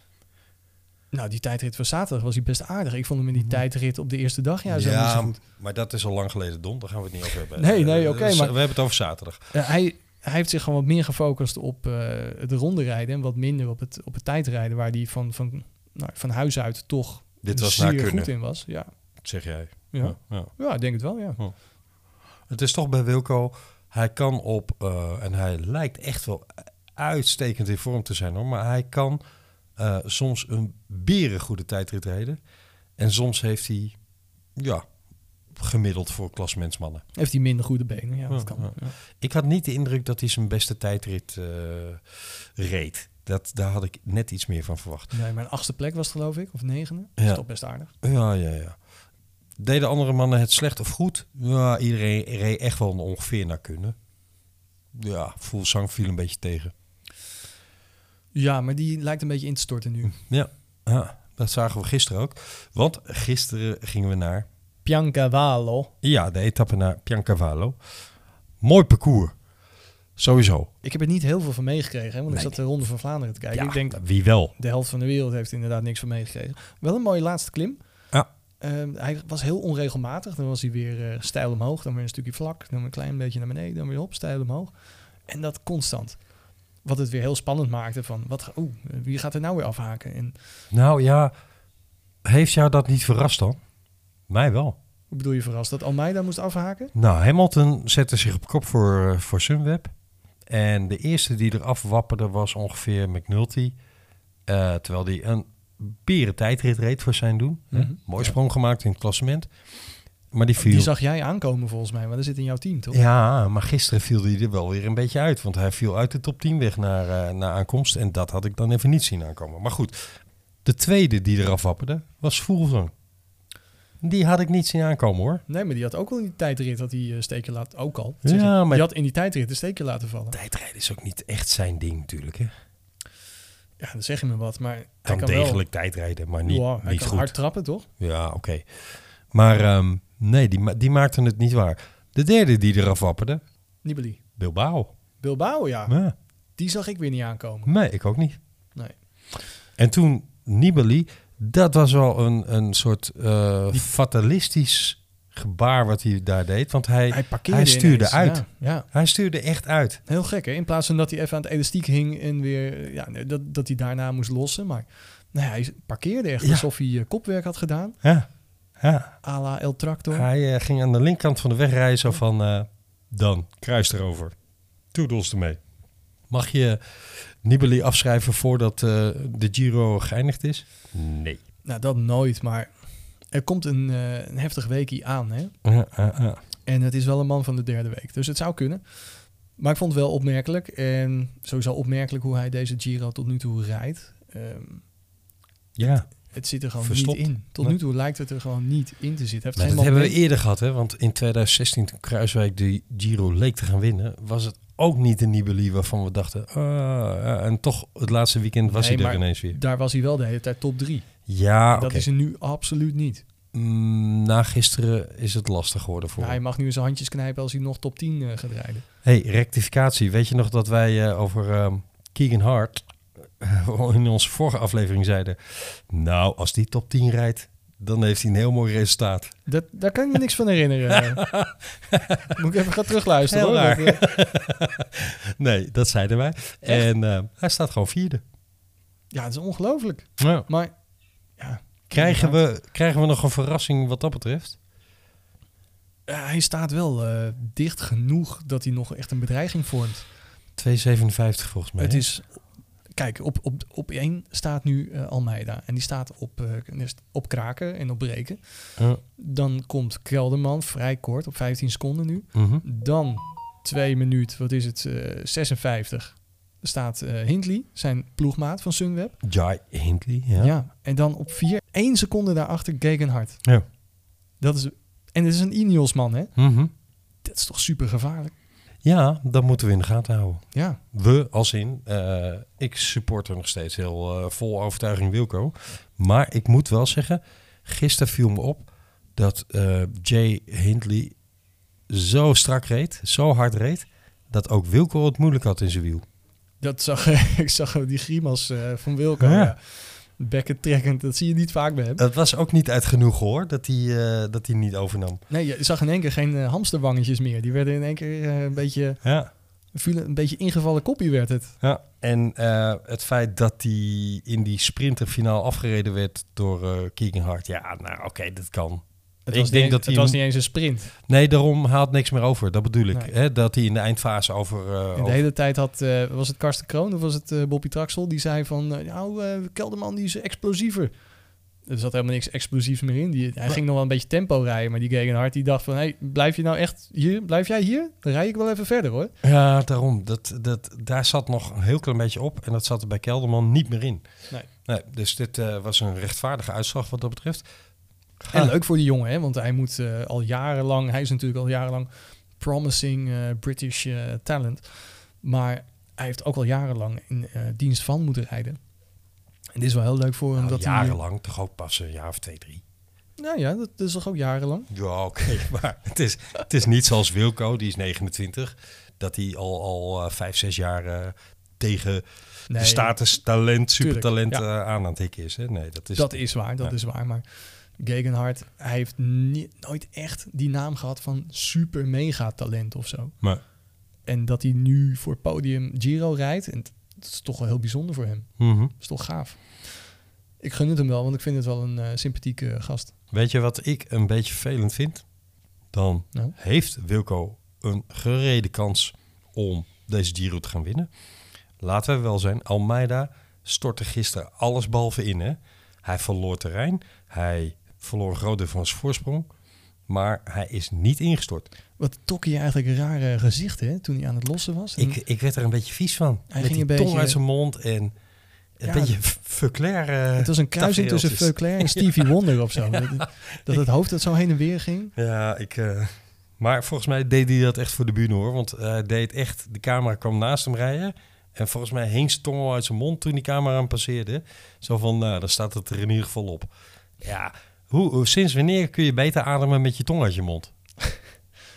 Speaker 2: Nou, die tijdrit van zaterdag was hij best aardig. Ik vond hem in die tijdrit op de eerste dag juist ja, niet zo goed.
Speaker 1: maar dat is al lang geleden, Don. Daar gaan we het niet over hebben.
Speaker 2: Nee, nee,
Speaker 1: Eh,
Speaker 2: oké,
Speaker 1: dus
Speaker 2: maar-
Speaker 1: We hebben het over zaterdag.
Speaker 2: Eh, hij, hij heeft zich gewoon wat meer gefocust op eh de ronde rijden en wat minder op het, op het tijdrijden, waar hij van, van, nou, van huis uit toch
Speaker 1: Dit was naar
Speaker 2: zeer
Speaker 1: kunnen,
Speaker 2: goed in was. Ja.
Speaker 1: zeg jij.
Speaker 2: Ja.
Speaker 1: ja.
Speaker 2: ja, ik denk het wel, ja.
Speaker 1: Het is toch bij Wilco, hij kan op, eh, en hij lijkt echt wel uitstekend in vorm te zijn hoor, maar hij kan eh, soms een berengoede tijdrit rijden. En soms heeft hij, ja, gemiddeld voor klasmensmannen.
Speaker 2: Heeft hij minder goede benen, ja, dat
Speaker 1: Ja,
Speaker 2: kan. Ja.
Speaker 1: Ik had niet de indruk dat hij zijn beste tijdrit eh, reed. Dat, daar had ik net iets meer van verwacht.
Speaker 2: Nee, maar een achtste plek was het, geloof ik, of negende.
Speaker 1: Ja.
Speaker 2: Dat is toch best aardig.
Speaker 1: Ja, ja, ja. Deden andere mannen het slecht of goed? Ja, iedereen reed echt wel ongeveer naar kunnen. Ja, Voelsang viel een beetje tegen.
Speaker 2: Ja, maar die lijkt een beetje in te storten nu.
Speaker 1: Ja, ja, dat zagen we gisteren ook. Want gisteren gingen we naar
Speaker 2: Piancavallo.
Speaker 1: ja, de etappe naar Piancavallo. Mooi parcours. Sowieso.
Speaker 2: Ik heb er niet heel veel van meegekregen, hè, want ik
Speaker 1: Nee.
Speaker 2: zat de Ronde van Vlaanderen te kijken.
Speaker 1: Ja,
Speaker 2: ik denk,
Speaker 1: wie wel.
Speaker 2: de helft van de wereld heeft inderdaad niks van meegekregen. Wel een mooie laatste klim.
Speaker 1: Ja.
Speaker 2: Ehm, hij was heel onregelmatig. Dan was hij weer eh, stijl omhoog, dan weer een stukje vlak, dan weer een klein beetje naar beneden, dan weer op, stijl omhoog. En dat constant. Wat het weer heel spannend maakte van, wat, ga- oeh, eh, wie gaat er nou weer afhaken? En,
Speaker 1: Nou ja, heeft jou dat niet verrast dan? Mij wel.
Speaker 2: hoe bedoel je verrast, dat Almeida moest afhaken?
Speaker 1: Nou, Hamilton zette zich op kop voor, eh, voor Sunweb. En de eerste die eraf wapperde was ongeveer McNulty. Eh, terwijl die een beren tijdrit reed voor zijn doen. hè.
Speaker 2: Mhm.
Speaker 1: Mooi sprong gemaakt in het klassement. Maar die viel...
Speaker 2: Die zag jij aankomen volgens mij, want dat zit in jouw team, toch?
Speaker 1: Ja, maar gisteren viel hij er wel weer een beetje uit. Want hij viel uit de top 10 weg naar, eh, naar aankomst. En dat had ik dan even niet zien aankomen. Maar goed, de tweede die eraf wapperde was Fulton. Die had ik niet zien aankomen hoor.
Speaker 2: Nee, maar die had ook al in die tijdrit dat hij eh, steken laat ook al. zeg
Speaker 1: Ja,
Speaker 2: ik.
Speaker 1: maar-
Speaker 2: Die had in die tijdrit de steken laten vallen.
Speaker 1: Tijdrijden is ook niet echt zijn ding natuurlijk. Hè?
Speaker 2: Ja, dan zeg je me wat, maar hij
Speaker 1: Kan,
Speaker 2: kan
Speaker 1: degelijk tijdrijden, maar
Speaker 2: wel.
Speaker 1: niet,
Speaker 2: Ja, hij
Speaker 1: niet
Speaker 2: kan
Speaker 1: goed.
Speaker 2: hard trappen, toch?
Speaker 1: Ja, oké. Maar ehm, nee, die, ma- die maakte het niet waar. De derde die eraf wapperde,
Speaker 2: Nibali.
Speaker 1: Bilbao.
Speaker 2: Bilbao, ja.
Speaker 1: Ja,
Speaker 2: Die zag ik weer niet aankomen.
Speaker 1: nee, ik ook niet.
Speaker 2: Nee.
Speaker 1: En toen Nibali, dat was wel een, een soort eh, fatalistisch gebaar wat hij daar deed. Want hij,
Speaker 2: Hij
Speaker 1: hij,
Speaker 2: parkeerde
Speaker 1: stuurde
Speaker 2: ineens,
Speaker 1: uit.
Speaker 2: Ja, ja.
Speaker 1: Hij stuurde echt uit.
Speaker 2: Heel gek, hè? In plaats van dat hij even aan het elastiek hing en weer... Ja, nee, dat, dat hij daarna moest lossen, maar... Nou ja, hij parkeerde echt
Speaker 1: Ja.
Speaker 2: alsof hij eh, kopwerk had gedaan.
Speaker 1: Ja, ja.
Speaker 2: à la El Tractor.
Speaker 1: Hij eh, ging aan de linkerkant van de weg rijden zo van... eh, dan, kruis erover. Toedels ermee. Mag je Nibali afschrijven voordat eh, de Giro geëindigd is? Nee.
Speaker 2: Nou, dat nooit, maar... Er komt een, eh, een heftig weekie aan, hè?
Speaker 1: Ja, ja, ja.
Speaker 2: En het is wel een man van de derde week. Dus het zou kunnen. Maar ik vond het wel opmerkelijk. En sowieso opmerkelijk hoe hij deze Giro tot nu toe rijdt. Ehm,
Speaker 1: ja.
Speaker 2: het zit er gewoon
Speaker 1: Verstopt.
Speaker 2: niet in. Tot
Speaker 1: Nee.
Speaker 2: nu toe lijkt het er gewoon niet in te zitten. Hij heeft
Speaker 1: Maar
Speaker 2: geen
Speaker 1: dat hebben we
Speaker 2: moment.
Speaker 1: eerder gehad, hè? want in 2016 toen Kruiswijk de Giro leek te gaan winnen, was het ook niet de Nibali waarvan we dachten, ah, ja, en toch het laatste weekend was
Speaker 2: Nee,
Speaker 1: hij er
Speaker 2: maar
Speaker 1: ineens weer.
Speaker 2: Daar was hij wel de hele tijd top drie.
Speaker 1: Ja, Ah, oké.
Speaker 2: Dat is er nu absoluut niet.
Speaker 1: Mm, na gisteren is het lastig geworden voor
Speaker 2: Maar hij
Speaker 1: hem.
Speaker 2: mag nu zijn handjes knijpen als hij nog top 10 eh, gaat rijden.
Speaker 1: Hey, rectificatie. Weet je nog dat wij eh, over ehm, Keegan Hart eh, in onze vorige aflevering zeiden, nou, als die top 10 rijdt, dan heeft hij een heel mooi resultaat.
Speaker 2: Dat, daar kan ik me niks van herinneren. Moet ik even gaan terugluisteren.
Speaker 1: Heel
Speaker 2: hoor.
Speaker 1: raar.
Speaker 2: Dat, eh,
Speaker 1: Nee, dat zeiden wij. En ehm, hij staat gewoon vierde.
Speaker 2: ja, dat is ongelooflijk.
Speaker 1: Ja.
Speaker 2: Maar ja,
Speaker 1: Krijgen we, krijgen we nog een verrassing wat dat betreft?
Speaker 2: Ja, hij staat wel eh, dicht genoeg dat hij nog echt een bedreiging vormt.
Speaker 1: 2,57 volgens mij.
Speaker 2: Het is, kijk, op, op, op één staat nu eh, Almeida. En die staat op, eh, op kraken en op breken.
Speaker 1: Ja.
Speaker 2: Dan komt Kelderman vrij kort, op 15 seconden nu.
Speaker 1: Mhm.
Speaker 2: Dan 2 minuut, wat is het, eh 56. Staat eh, Hindley, zijn ploegmaat van Sunweb.
Speaker 1: Jai Hindley, ja.
Speaker 2: En dan op 4, 1 seconde daarachter Gegenhard.
Speaker 1: Ja.
Speaker 2: Dat is, en het is een Ineos-man, hè?
Speaker 1: Mhm.
Speaker 2: Dat is toch super gevaarlijk?
Speaker 1: Ja, dat moeten we in de gaten houden.
Speaker 2: Ja.
Speaker 1: We als in, eh, ik support er nog steeds heel eh, vol overtuiging Wilco. Maar ik moet wel zeggen, gisteren viel me op dat eh, Jay Hindley zo strak reed, zo hard reed, dat ook Wilco het moeilijk had in zijn wiel.
Speaker 2: Dat zag ik zag die grimas eh, van Wilco.
Speaker 1: Ja.
Speaker 2: Ja. Bekken trekkend, dat zie je niet vaak bij hem.
Speaker 1: Het was ook niet uit genoeg hoor, dat hij, eh, dat hij niet overnam.
Speaker 2: Nee, je zag in één keer geen eh, hamsterwangetjes meer. Die werden in één keer eh, een beetje,
Speaker 1: Ja.
Speaker 2: vielen, een beetje ingevallen koppie werd het.
Speaker 1: Ja. En eh, het feit dat hij in die sprinterfinaal afgereden werd door eh Keegan Hart. Ja, nou oké, dat kan.
Speaker 2: Het
Speaker 1: Ik
Speaker 2: was,
Speaker 1: denk
Speaker 2: niet,
Speaker 1: dat
Speaker 2: het
Speaker 1: hij-
Speaker 2: was niet eens een sprint.
Speaker 1: Nee, daarom haalt niks meer over. Dat bedoel ik.
Speaker 2: Nee.
Speaker 1: Hè? Dat hij in de eindfase over... eh,
Speaker 2: En de
Speaker 1: over-
Speaker 2: hele tijd had, eh, was het Karsten Kroon of was het eh, Bobby Traxel? Die zei van, eh, nou, eh, Kelderman die is explosiever. Er zat helemaal niks explosiefs meer in. Die, hij ging nog wel een beetje tempo rijden, maar die Gegenhard die dacht van... Hey, blijf je nou echt hier? Blijf jij hier? Dan rij ik wel even verder hoor.
Speaker 1: Ja, daarom. Dat, dat, daar zat nog een heel klein beetje op. En dat zat er bij Kelderman niet meer in.
Speaker 2: Nee.
Speaker 1: dus dit eh, was een rechtvaardige uitslag wat dat betreft.
Speaker 2: En leuk voor die jongen, hè? want hij moet eh, al jarenlang, hij is natuurlijk al jarenlang promising eh, British eh, talent. Maar hij heeft ook al jarenlang in eh, dienst van moeten rijden. En dit is wel heel leuk voor hem.
Speaker 1: Nou,
Speaker 2: dat
Speaker 1: jarenlang, toch ook pas een jaar of twee, drie.
Speaker 2: Hij, nou ja, dat is toch ook jarenlang.
Speaker 1: Ja, oké, maar het is, het is niet zoals Wilco, die is 29, dat hij al, al eh, vijf, zes jaar eh, tegen
Speaker 2: Nee,
Speaker 1: de status talent, supertalent
Speaker 2: Tuurlijk,
Speaker 1: eh, aan aan het hikken is. Hè? Nee, dat is,
Speaker 2: dat is waar, dat
Speaker 1: Dus Ja.
Speaker 2: is waar. Maar Gegenhard, hij heeft ni- nooit echt die naam gehad van super mega talent of zo.
Speaker 1: Maar,
Speaker 2: En dat hij nu voor podium Giro rijdt, en t- dat is toch wel heel bijzonder voor hem.
Speaker 1: mhm.
Speaker 2: Dat is toch gaaf. Ik gun het hem wel, want ik vind het wel een eh, sympathieke gast.
Speaker 1: Weet je wat ik een beetje vervelend vind? Dan
Speaker 2: Nou?
Speaker 1: heeft Wilco een gerede kans om deze Giro te gaan winnen. Laten we wel zijn, Almeida stortte gisteren alles behalve in. Hè? Hij verloor terrein. Hij verloor Rode van zijn voorsprong. Maar hij is niet ingestort.
Speaker 2: Wat tokkie eigenlijk een rare gezicht, hè? Toen hij aan het lossen was. En
Speaker 1: Ik, eh, ik werd er een beetje vies van.
Speaker 2: Hm. Hij
Speaker 1: Met
Speaker 2: ging
Speaker 1: die
Speaker 2: een
Speaker 1: tong
Speaker 2: beetje-
Speaker 1: uit zijn mond en een
Speaker 2: Ja,
Speaker 1: beetje verklaar.
Speaker 2: het was een kruising tussen
Speaker 1: tafereeltjes.
Speaker 2: Veuclair en Stevie Wonder of zo. Dat, dat het hoofd dat zo heen en weer ging.
Speaker 1: Ja, ik. eh, maar volgens mij deed hij dat echt voor de bühne hoor. Want eh, hij deed echt. De camera kwam naast hem rijden. En volgens mij hing zijn tong al uit zijn mond toen die camera hem passeerde. Zo van, nou, dan staat het er in ieder geval op. Ja, hoe, hoe- sinds wanneer kun je beter ademen met je tong uit je mond?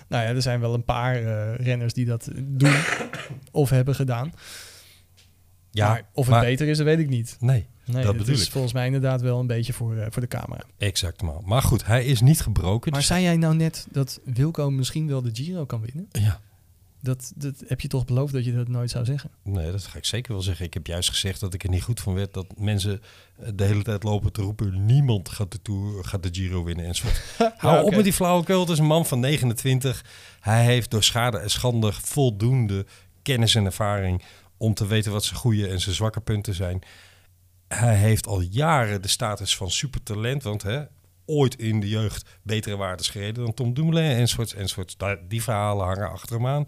Speaker 2: Nou ja, er zijn wel een paar eh, renners die dat doen of hebben gedaan.
Speaker 1: Ja,
Speaker 2: maar of het
Speaker 1: maar-
Speaker 2: beter is, dat weet ik niet.
Speaker 1: Nee,
Speaker 2: Nee,
Speaker 1: dat
Speaker 2: het
Speaker 1: bedoel
Speaker 2: is
Speaker 1: ik.
Speaker 2: volgens mij inderdaad wel een beetje voor, eh, voor de camera.
Speaker 1: Exact, maar. Maar goed, hij is niet gebroken.
Speaker 2: Maar
Speaker 1: dus-
Speaker 2: zei jij nou net dat Wilco misschien wel de Giro kan winnen?
Speaker 1: ja.
Speaker 2: Dat, dat heb je toch beloofd dat je dat nooit zou zeggen?
Speaker 1: Nee, dat ga ik zeker wel zeggen. Ik heb juist gezegd dat ik er niet goed van werd. Dat mensen eh, de hele tijd lopen te roepen... niemand gaat de, Tour, gaat de Giro winnen enzovoort. Hou op
Speaker 2: oké.
Speaker 1: met die flauwekul. Het is een man van 29. Hij heeft door schade en schande voldoende kennis en ervaring... om te weten wat zijn goede en zijn zwakke punten zijn. Hij heeft al jaren de status van supertalent. Want hè, ooit in de jeugd betere waardes gereden dan Tom Dumoulin enzovoorts. enzovoorts. Daar- Die verhalen hangen achter hem aan.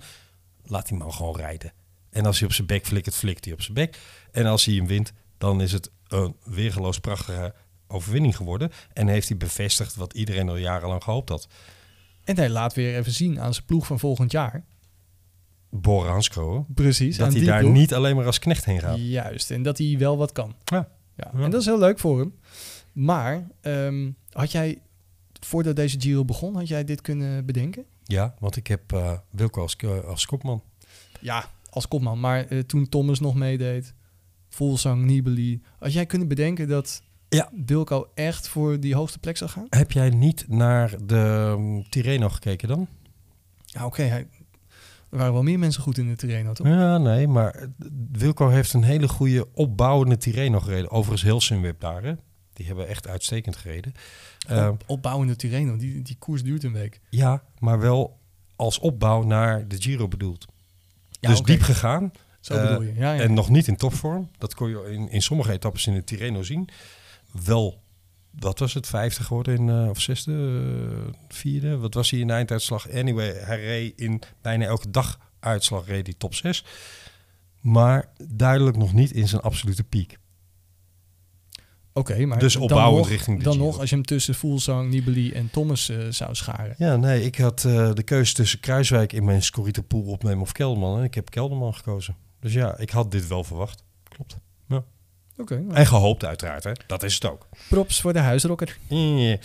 Speaker 1: Laat die man gewoon rijden. En als hij op zijn bek flikkert, flikt hij op zijn bek. En als hij hem wint, dan is het een weergeloos prachtige overwinning geworden. En heeft hij bevestigd wat iedereen al jarenlang gehoopt had.
Speaker 2: En hij laat weer even zien aan zijn ploeg van volgend jaar.
Speaker 1: Bora Hansgrohe.
Speaker 2: Precies, aan
Speaker 1: Dat hij
Speaker 2: die
Speaker 1: daar
Speaker 2: ploeg.
Speaker 1: niet alleen maar als knecht heen gaat.
Speaker 2: Juist, en dat hij wel wat kan.
Speaker 1: Ja.
Speaker 2: Ja.
Speaker 1: Ja.
Speaker 2: En dat is heel leuk voor hem. Maar ehm, had jij, voordat deze Giro begon, had jij dit kunnen bedenken?
Speaker 1: Ja, want ik heb eh, Wilco als, eh, als kopman.
Speaker 2: Ja, als kopman. Maar eh, toen Thomas nog meedeed, Volsang, Nibali. Had jij kunnen bedenken dat
Speaker 1: Ja.
Speaker 2: Wilco echt voor die hoogste plek zou gaan?
Speaker 1: Heb jij niet naar de mm, Tirreno gekeken dan?
Speaker 2: Ja, oké. hij- er waren wel meer mensen goed in de terrein, toch?
Speaker 1: Ja, nee, maar eh, Wilco heeft een hele goede opbouwende Tirreno gereden. Overigens heel Sunweb daar, hè. Die hebben echt uitstekend gereden. Ehm,
Speaker 2: Op, opbouwende Tirreno, die, die koers duurt een week.
Speaker 1: Ja, maar wel als opbouw naar de Giro bedoeld. dus
Speaker 2: oké.
Speaker 1: diep gegaan.
Speaker 2: Zo
Speaker 1: eh,
Speaker 2: bedoel je. Ja, ja.
Speaker 1: En nog niet in topvorm. Dat kon je in, in sommige etappes in de Tirreno zien. Wel, wat was het? Vijfde geworden in, eh, of zesde? eh, vierde? Wat was hij in de einduitslag? Anyway, hij reed in bijna elke dag uitslag reed hij top 6. Maar duidelijk nog niet in zijn absolute piek.
Speaker 2: Oké, maar
Speaker 1: Dus
Speaker 2: dan
Speaker 1: opbouwend
Speaker 2: nog-
Speaker 1: richting de
Speaker 2: Dan
Speaker 1: Giro.
Speaker 2: nog, als je hem tussen Voelsang, Nibali en Thomas eh, zou scharen.
Speaker 1: Ja, nee, ik had eh, de keuze tussen Kruiswijk in mijn scorrietenpoel opnemen of Kelderman. En ik heb Kelderman gekozen. Dus ja, ik had dit wel verwacht. Klopt. Ja.
Speaker 2: Oké, nou,
Speaker 1: En gehoopt uiteraard, hè. Dat is het ook.
Speaker 2: props voor de huisrocker.
Speaker 1: Eh,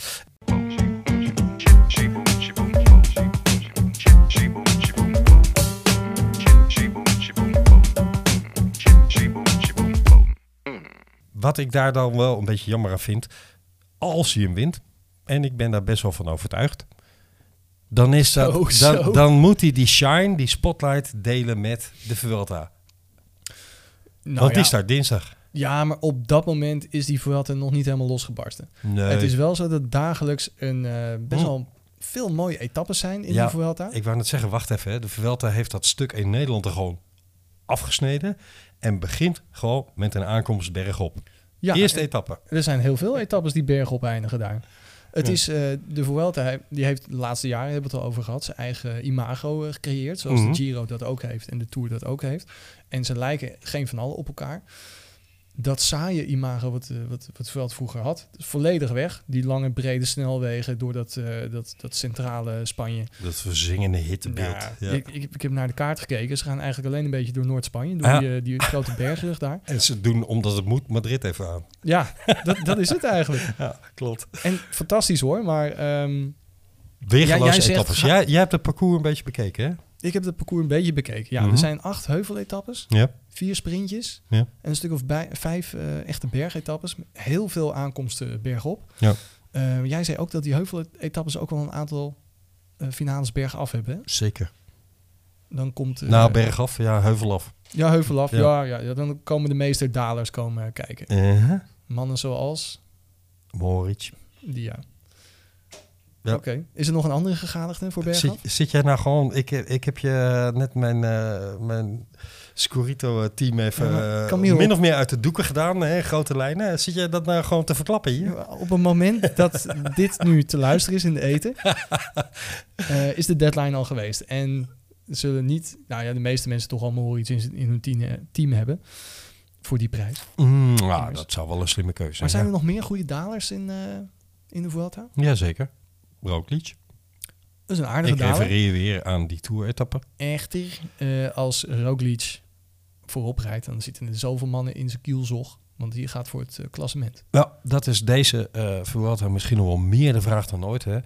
Speaker 1: Wat ik daar dan wel een beetje jammer aan vind, als hij hem wint, en ik ben daar best wel van overtuigd, dan, is dat,
Speaker 2: Zo,
Speaker 1: dan,
Speaker 2: Oh, zo.
Speaker 1: dan moet hij die shine, die spotlight delen met de Vuelta.
Speaker 2: Nou,
Speaker 1: Want
Speaker 2: ja.
Speaker 1: die start dinsdag.
Speaker 2: ja, maar op dat moment is die Vuelta nog niet helemaal losgebarsten.
Speaker 1: Nee.
Speaker 2: Het is wel zo dat dagelijks een, eh, best
Speaker 1: Hm.
Speaker 2: wel veel mooie etappes zijn in
Speaker 1: Ja,
Speaker 2: die Vuelta.
Speaker 1: Ik wou net zeggen, wacht even. hè. De Vuelta heeft dat stuk in Nederland er gewoon afgesneden. En begint gewoon met een aankomst bergop.
Speaker 2: Ja,
Speaker 1: Eerste
Speaker 2: en-
Speaker 1: etappe.
Speaker 2: Er zijn heel veel etappes die bergop eindigen daar. Het
Speaker 1: Ja.
Speaker 2: is eh, de Vuelta, hij- die heeft de laatste jaren, hebben we het al over gehad, zijn eigen imago eh, gecreëerd. Zoals
Speaker 1: Mhm.
Speaker 2: de Giro dat ook heeft en de Tour dat ook heeft. En ze lijken geen van allen op elkaar. Dat saaie imago wat, eh, wat, wat Veld vroeger had, is volledig weg. Die lange brede snelwegen door dat, eh, dat, dat centrale Spanje.
Speaker 1: Dat verzingende hittebeeld.
Speaker 2: Nou,
Speaker 1: ja.
Speaker 2: ik, ik, ik heb naar de kaart gekeken. Ze gaan eigenlijk alleen een beetje door Noord-Spanje, door
Speaker 1: Ja.
Speaker 2: die, eh, die grote bergrug daar.
Speaker 1: En ze doen, omdat het moet, Madrid even aan.
Speaker 2: Ja, dat, dat is het eigenlijk.
Speaker 1: Ja, klopt.
Speaker 2: En fantastisch hoor, maar ehm, Ja, jij
Speaker 1: Weergeloze
Speaker 2: zegt,
Speaker 1: etappes.
Speaker 2: ga-
Speaker 1: Jij, jij hebt het parcours een beetje bekeken, hè?
Speaker 2: ik heb het parcours een beetje bekeken. Ja,
Speaker 1: Mhm.
Speaker 2: er zijn acht heuveletappes,
Speaker 1: Ja.
Speaker 2: vier sprintjes
Speaker 1: Ja.
Speaker 2: en een stuk of bij, vijf eh, echte bergetappes. met Heel veel aankomsten bergop.
Speaker 1: Ja.
Speaker 2: Eh, jij zei ook dat die heuveletappes ook wel een aantal eh, finales bergaf hebben. hè?
Speaker 1: Zeker.
Speaker 2: Dan komt... eh,
Speaker 1: nou, bergaf. Ja, heuvelaf.
Speaker 2: Ja, heuvelaf.
Speaker 1: Ja.
Speaker 2: Ja. Ja, ja, dan komen de meesterdalers komen eh, kijken.
Speaker 1: Uh-huh.
Speaker 2: Mannen zoals
Speaker 1: Moritz.
Speaker 2: die, ja.
Speaker 1: Ja.
Speaker 2: Oké. Is er nog een andere gegadigde voor bergaf?
Speaker 1: Zit, zit jij nou gewoon... Ik, heb- ik heb je net mijn, eh, mijn Scorito-team even
Speaker 2: Ja, maar
Speaker 1: eh,
Speaker 2: Camille-
Speaker 1: min of meer uit de doeken gedaan, hè, grote lijnen. Zit je dat nou gewoon te verklappen hier?
Speaker 2: Op het moment dat dit nu te luisteren is in de eten, eh, is de deadline al geweest. En zullen niet, nou ja, de meeste mensen toch allemaal wel iets in, z'n- in hun team, eh, team hebben voor die prijs.
Speaker 1: Mm, nou, dat zou wel een slimme keuze
Speaker 2: Maar
Speaker 1: zijn.
Speaker 2: zijn
Speaker 1: ja.
Speaker 2: er nog meer goede dalers in, eh, in de Vuelta?
Speaker 1: Jazeker. Roglic.
Speaker 2: Dat is een aardige
Speaker 1: Ik
Speaker 2: daler.
Speaker 1: refereer weer aan die Tour-etappe.
Speaker 2: Echter, eh, als Roglic voorop rijdt, dan zitten er zoveel mannen in zijn kielzog. Want hier gaat voor het eh, klassement.
Speaker 1: Nou, dat is deze eh Vuelta misschien nog wel meer de vraag dan ooit. Hè?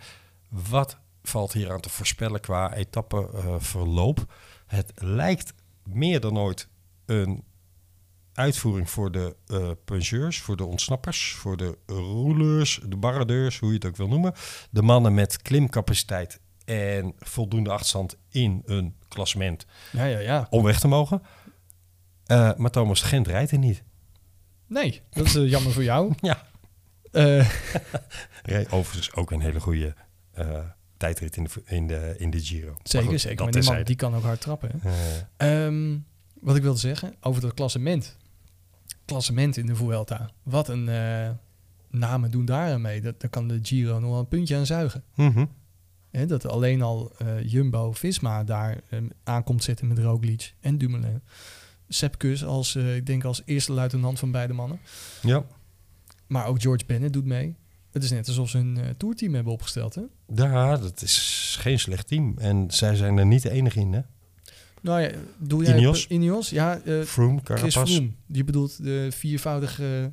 Speaker 1: Wat valt hier aan te voorspellen qua etappeverloop? het lijkt meer dan ooit een uitvoering voor de eh puncheurs, voor de ontsnappers, voor de roelers, de barradeurs, hoe je het ook wil noemen. De mannen met klimcapaciteit en voldoende achterstand in een klassement
Speaker 2: Ja, ja, ja.
Speaker 1: om weg te mogen. Eh, maar Thomas de Gent rijdt er niet.
Speaker 2: Nee, dat is eh, jammer voor jou.
Speaker 1: Ja.
Speaker 2: Eh,
Speaker 1: Rijdt overigens ook een hele goede eh, tijdrit in de, in de, in de Giro. Maar
Speaker 2: zeker,
Speaker 1: goed,
Speaker 2: zeker.
Speaker 1: dat
Speaker 2: Maar die man
Speaker 1: terzijde.
Speaker 2: die kan ook hard trappen. hè.
Speaker 1: Eh,
Speaker 2: Ehm, wat ik wilde zeggen over dat klassement. Klassement in de Vuelta. Wat een eh, namen doen daar aan mee. Dat, daar kan de Giro nog wel een puntje aan zuigen.
Speaker 1: mhm.
Speaker 2: Hè, dat alleen al eh, Jumbo Visma daar ehm, aankomt zitten met Roglic en Dumoulin. Sepkus als, eh, ik denk als eerste luitenant van beide mannen.
Speaker 1: Ja,
Speaker 2: Maar ook George Bennett doet mee. Het is net alsof ze een eh, toerteam hebben opgesteld. Hè?
Speaker 1: ja, dat is geen slecht team. En zij zijn er niet de enige in, hè?
Speaker 2: Nou ja, doe jij
Speaker 1: Ineos?
Speaker 2: Ineos? Ja, eh,
Speaker 1: Froome,
Speaker 2: Chris
Speaker 1: Carapaz.
Speaker 2: Froome. Die bedoelt de viervoudige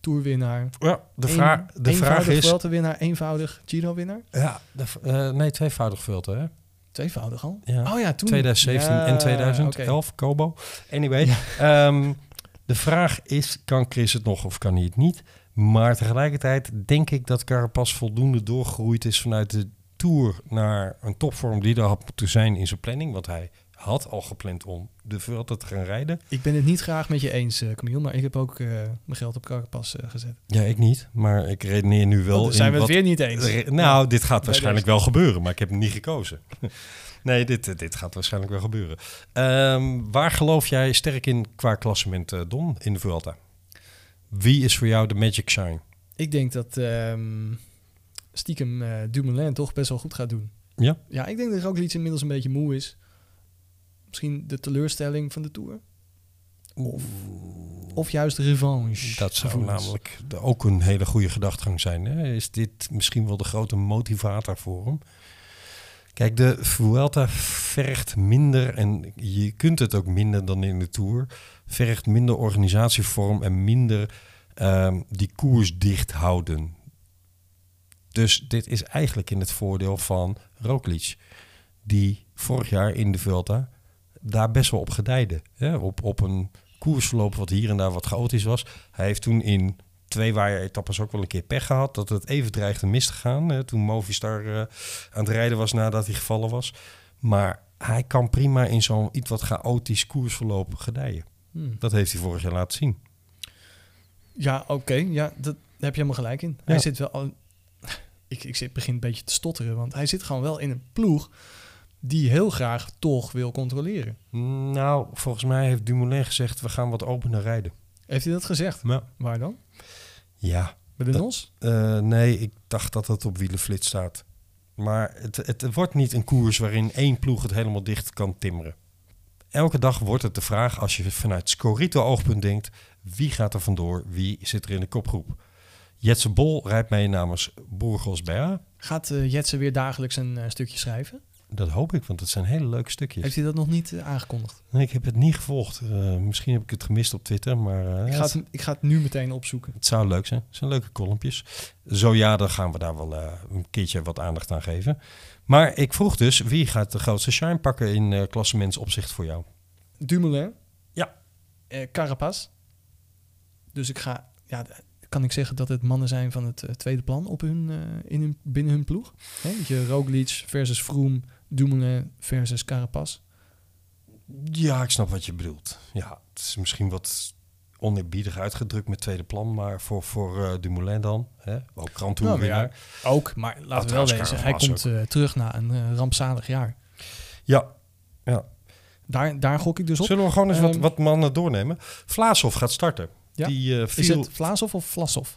Speaker 2: toerwinnaar.
Speaker 1: Ja, de, vraag de vraag is...
Speaker 2: winnaar, eenvoudig Giro-winnaar.
Speaker 1: Ja, de v- eh, nee, tweevoudig Vuelta, hè?
Speaker 2: Tweevoudig al?
Speaker 1: Ja.
Speaker 2: Oh ja, toen.
Speaker 1: 2017 en
Speaker 2: Ja,
Speaker 1: 2011, Kobo. Anyway, ehm, de vraag is, kan Chris het nog of kan hij het niet? Maar tegelijkertijd denk ik dat Carapaz voldoende doorgegroeid is vanuit de Tour naar een topvorm die er had moeten zijn in zijn planning. Want hij had al gepland om de Vuelta te gaan rijden.
Speaker 2: oké. Ik ben het niet graag met je eens, eh Camille, maar ik heb ook eh, mijn geld op Carapaz eh, gezet.
Speaker 1: Ja, ik niet. Maar ik redeneer nu wel
Speaker 2: Dan zijn
Speaker 1: in
Speaker 2: we
Speaker 1: wat
Speaker 2: het weer niet eens.
Speaker 1: Re- Nou, dit gaat
Speaker 2: Bij
Speaker 1: waarschijnlijk wel gebeuren, maar ik heb hem niet gekozen. nee, dit, eh, dit gaat waarschijnlijk wel gebeuren. Ehm, waar geloof jij sterk in qua klassement, eh, Don, in de Vuelta? Wie is voor jou de magic sign?
Speaker 2: Ik denk dat ehm, stiekem eh, Dumoulin toch best wel goed gaat doen.
Speaker 1: Ja.
Speaker 2: Ja, ik denk dat Roglic inmiddels een beetje moe is. Misschien de teleurstelling van de Tour. Of, of juist revanche.
Speaker 1: Dat zou
Speaker 2: gevoelens.
Speaker 1: namelijk de- ook een hele goede gedachtgang zijn. Hè? Is dit misschien wel de grote motivator voor hem? Kijk, de Vuelta vergt minder, en je kunt het ook minder dan in de Tour, vergt minder organisatievorm en minder ehm, die koers dicht houden. Dus dit is eigenlijk in het voordeel van Roglic, die vorig jaar in de Vuelta daar best wel op gedijde. Hè? Op, op een koersverloop wat hier en daar wat chaotisch was. Hij heeft toen in twee waaier-etappes ook wel een keer pech gehad. Dat het even dreigde mis te gaan. Hè, toen Movistar eh, aan het rijden was nadat hij gevallen was. Maar hij kan prima in zo'n iets wat chaotisch koersverloop gedijen.
Speaker 2: Hmm.
Speaker 1: Dat heeft hij vorig jaar laten zien.
Speaker 2: Ja, oké. Ja, dat, daar heb je helemaal gelijk in.
Speaker 1: Ja.
Speaker 2: Hij zit wel al... Ik, ik zit, begin een beetje te stotteren, want hij zit gewoon wel in een ploeg die heel graag toch wil controleren.
Speaker 1: Nou, volgens mij heeft Dumoulin gezegd... we gaan wat opener rijden.
Speaker 2: Heeft hij dat gezegd?
Speaker 1: Ja.
Speaker 2: Waar dan?
Speaker 1: Ja,
Speaker 2: Bij de
Speaker 1: Dat-
Speaker 2: Nos?
Speaker 1: eh, nee, ik dacht dat dat op wielenflits staat. Maar het, het wordt niet een koers waarin één ploeg het helemaal dicht kan timmeren. Elke dag wordt het de vraag, als je vanuit Scorito-oogpunt denkt... wie gaat er vandoor, wie zit er in de kopgroep? Jetse Bol rijdt mee namens Burgos Berra.
Speaker 2: Gaat eh, Jetsen weer dagelijks een eh, stukje schrijven?
Speaker 1: Dat hoop ik, want het zijn hele leuke stukjes.
Speaker 2: Heeft hij dat nog niet eh, aangekondigd?
Speaker 1: Nee, ik heb het niet gevolgd. Eh, misschien heb ik het gemist op Twitter, maar... eh,
Speaker 2: Ik ga, het, ik ga het nu meteen opzoeken.
Speaker 1: Het zou leuk zijn. Het zijn leuke kolompjes. Zo ja, dan gaan we daar wel eh, een keertje wat aandacht aan geven. Maar ik vroeg dus, wie gaat de grootste shine pakken in eh klassementsopzicht voor jou?
Speaker 2: Dumoulin?
Speaker 1: Ja.
Speaker 2: Eh, Carapaz? Dus ik ga... Ja, d- kan ik zeggen dat het mannen zijn van het eh, tweede plan op hun, eh, in hun, binnen hun ploeg? Hè, dat je Roglic versus Froome, Dumoulin versus Carapaz.
Speaker 1: Ja, ik snap wat je bedoelt. Ja, het is misschien wat oneerbiedig uitgedrukt met tweede plan, maar voor, voor eh, Dumoulin dan, hè? ook Grand Tour
Speaker 2: Nou, maar
Speaker 1: winnaar.
Speaker 2: ja, ook, maar laten we wel
Speaker 1: trouwens,
Speaker 2: wezen, hij eh,
Speaker 1: Carapaz
Speaker 2: komt eh, terug na een eh, rampzalig jaar.
Speaker 1: Ja, ja.
Speaker 2: Daar, daar gok ik dus op.
Speaker 1: Zullen we gewoon eens wat,
Speaker 2: Ehm,
Speaker 1: wat mannen doornemen? Vlaashoff gaat starten.
Speaker 2: Ja.
Speaker 1: Die eh,
Speaker 2: Is
Speaker 1: viel...
Speaker 2: het Vlaashoff of Vlasov?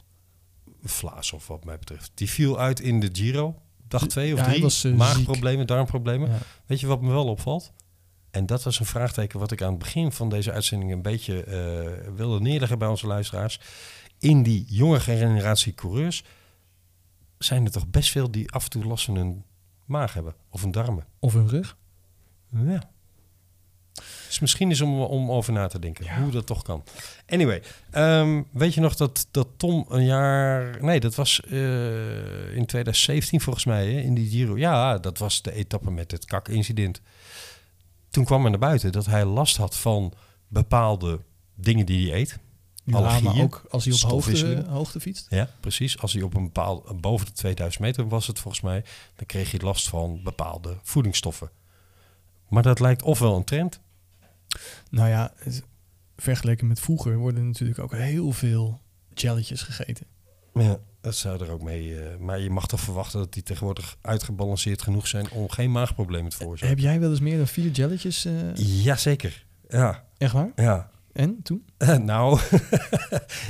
Speaker 1: Vlaashoff wat mij betreft. Die viel uit in de Giro. Dag twee of
Speaker 2: Ja, hij
Speaker 1: drie.
Speaker 2: was, eh,
Speaker 1: Maagproblemen, darmproblemen.
Speaker 2: Ja.
Speaker 1: Weet je wat me wel opvalt? En dat was een vraagteken wat ik aan het begin van deze uitzending een beetje eh, wilde neerleggen bij onze luisteraars. In die jonge generatie coureurs zijn er toch best veel die af en toe last van hun maag hebben. Of hun darmen.
Speaker 2: Of hun rug?
Speaker 1: Ja. Dus misschien is om, om over na te denken hoe dat toch kan. Anyway, ehm, weet je nog dat, dat Tom een jaar. Nee, dat was eh, in 2017 volgens mij, hè, in die Giro. Ja, dat was de etappe met het kak-incident. Toen kwam er naar buiten dat hij last had van bepaalde dingen die hij eet.
Speaker 2: Ja, maar
Speaker 1: Allergieën,
Speaker 2: ook als hij op hoogte, eh,
Speaker 1: stofwisselingen.
Speaker 2: hoogte fietst.
Speaker 1: Ja, precies. Als hij op een bepaal boven de 2000 meter was het volgens mij, dan kreeg hij last van bepaalde voedingsstoffen. Maar dat lijkt ofwel een trend,
Speaker 2: Nou ja, het- vergeleken met vroeger worden natuurlijk ook heel veel jelletjes gegeten.
Speaker 1: Ja, dat zou er ook mee. eh, maar je mag toch verwachten dat die tegenwoordig uitgebalanceerd genoeg zijn om geen maagproblemen te veroorzaken.
Speaker 2: Heb jij wel eens meer dan vier jelletjes? eh,
Speaker 1: Jazeker. Ja,
Speaker 2: Echt waar?
Speaker 1: ja.
Speaker 2: En toen?
Speaker 1: Eh, nou,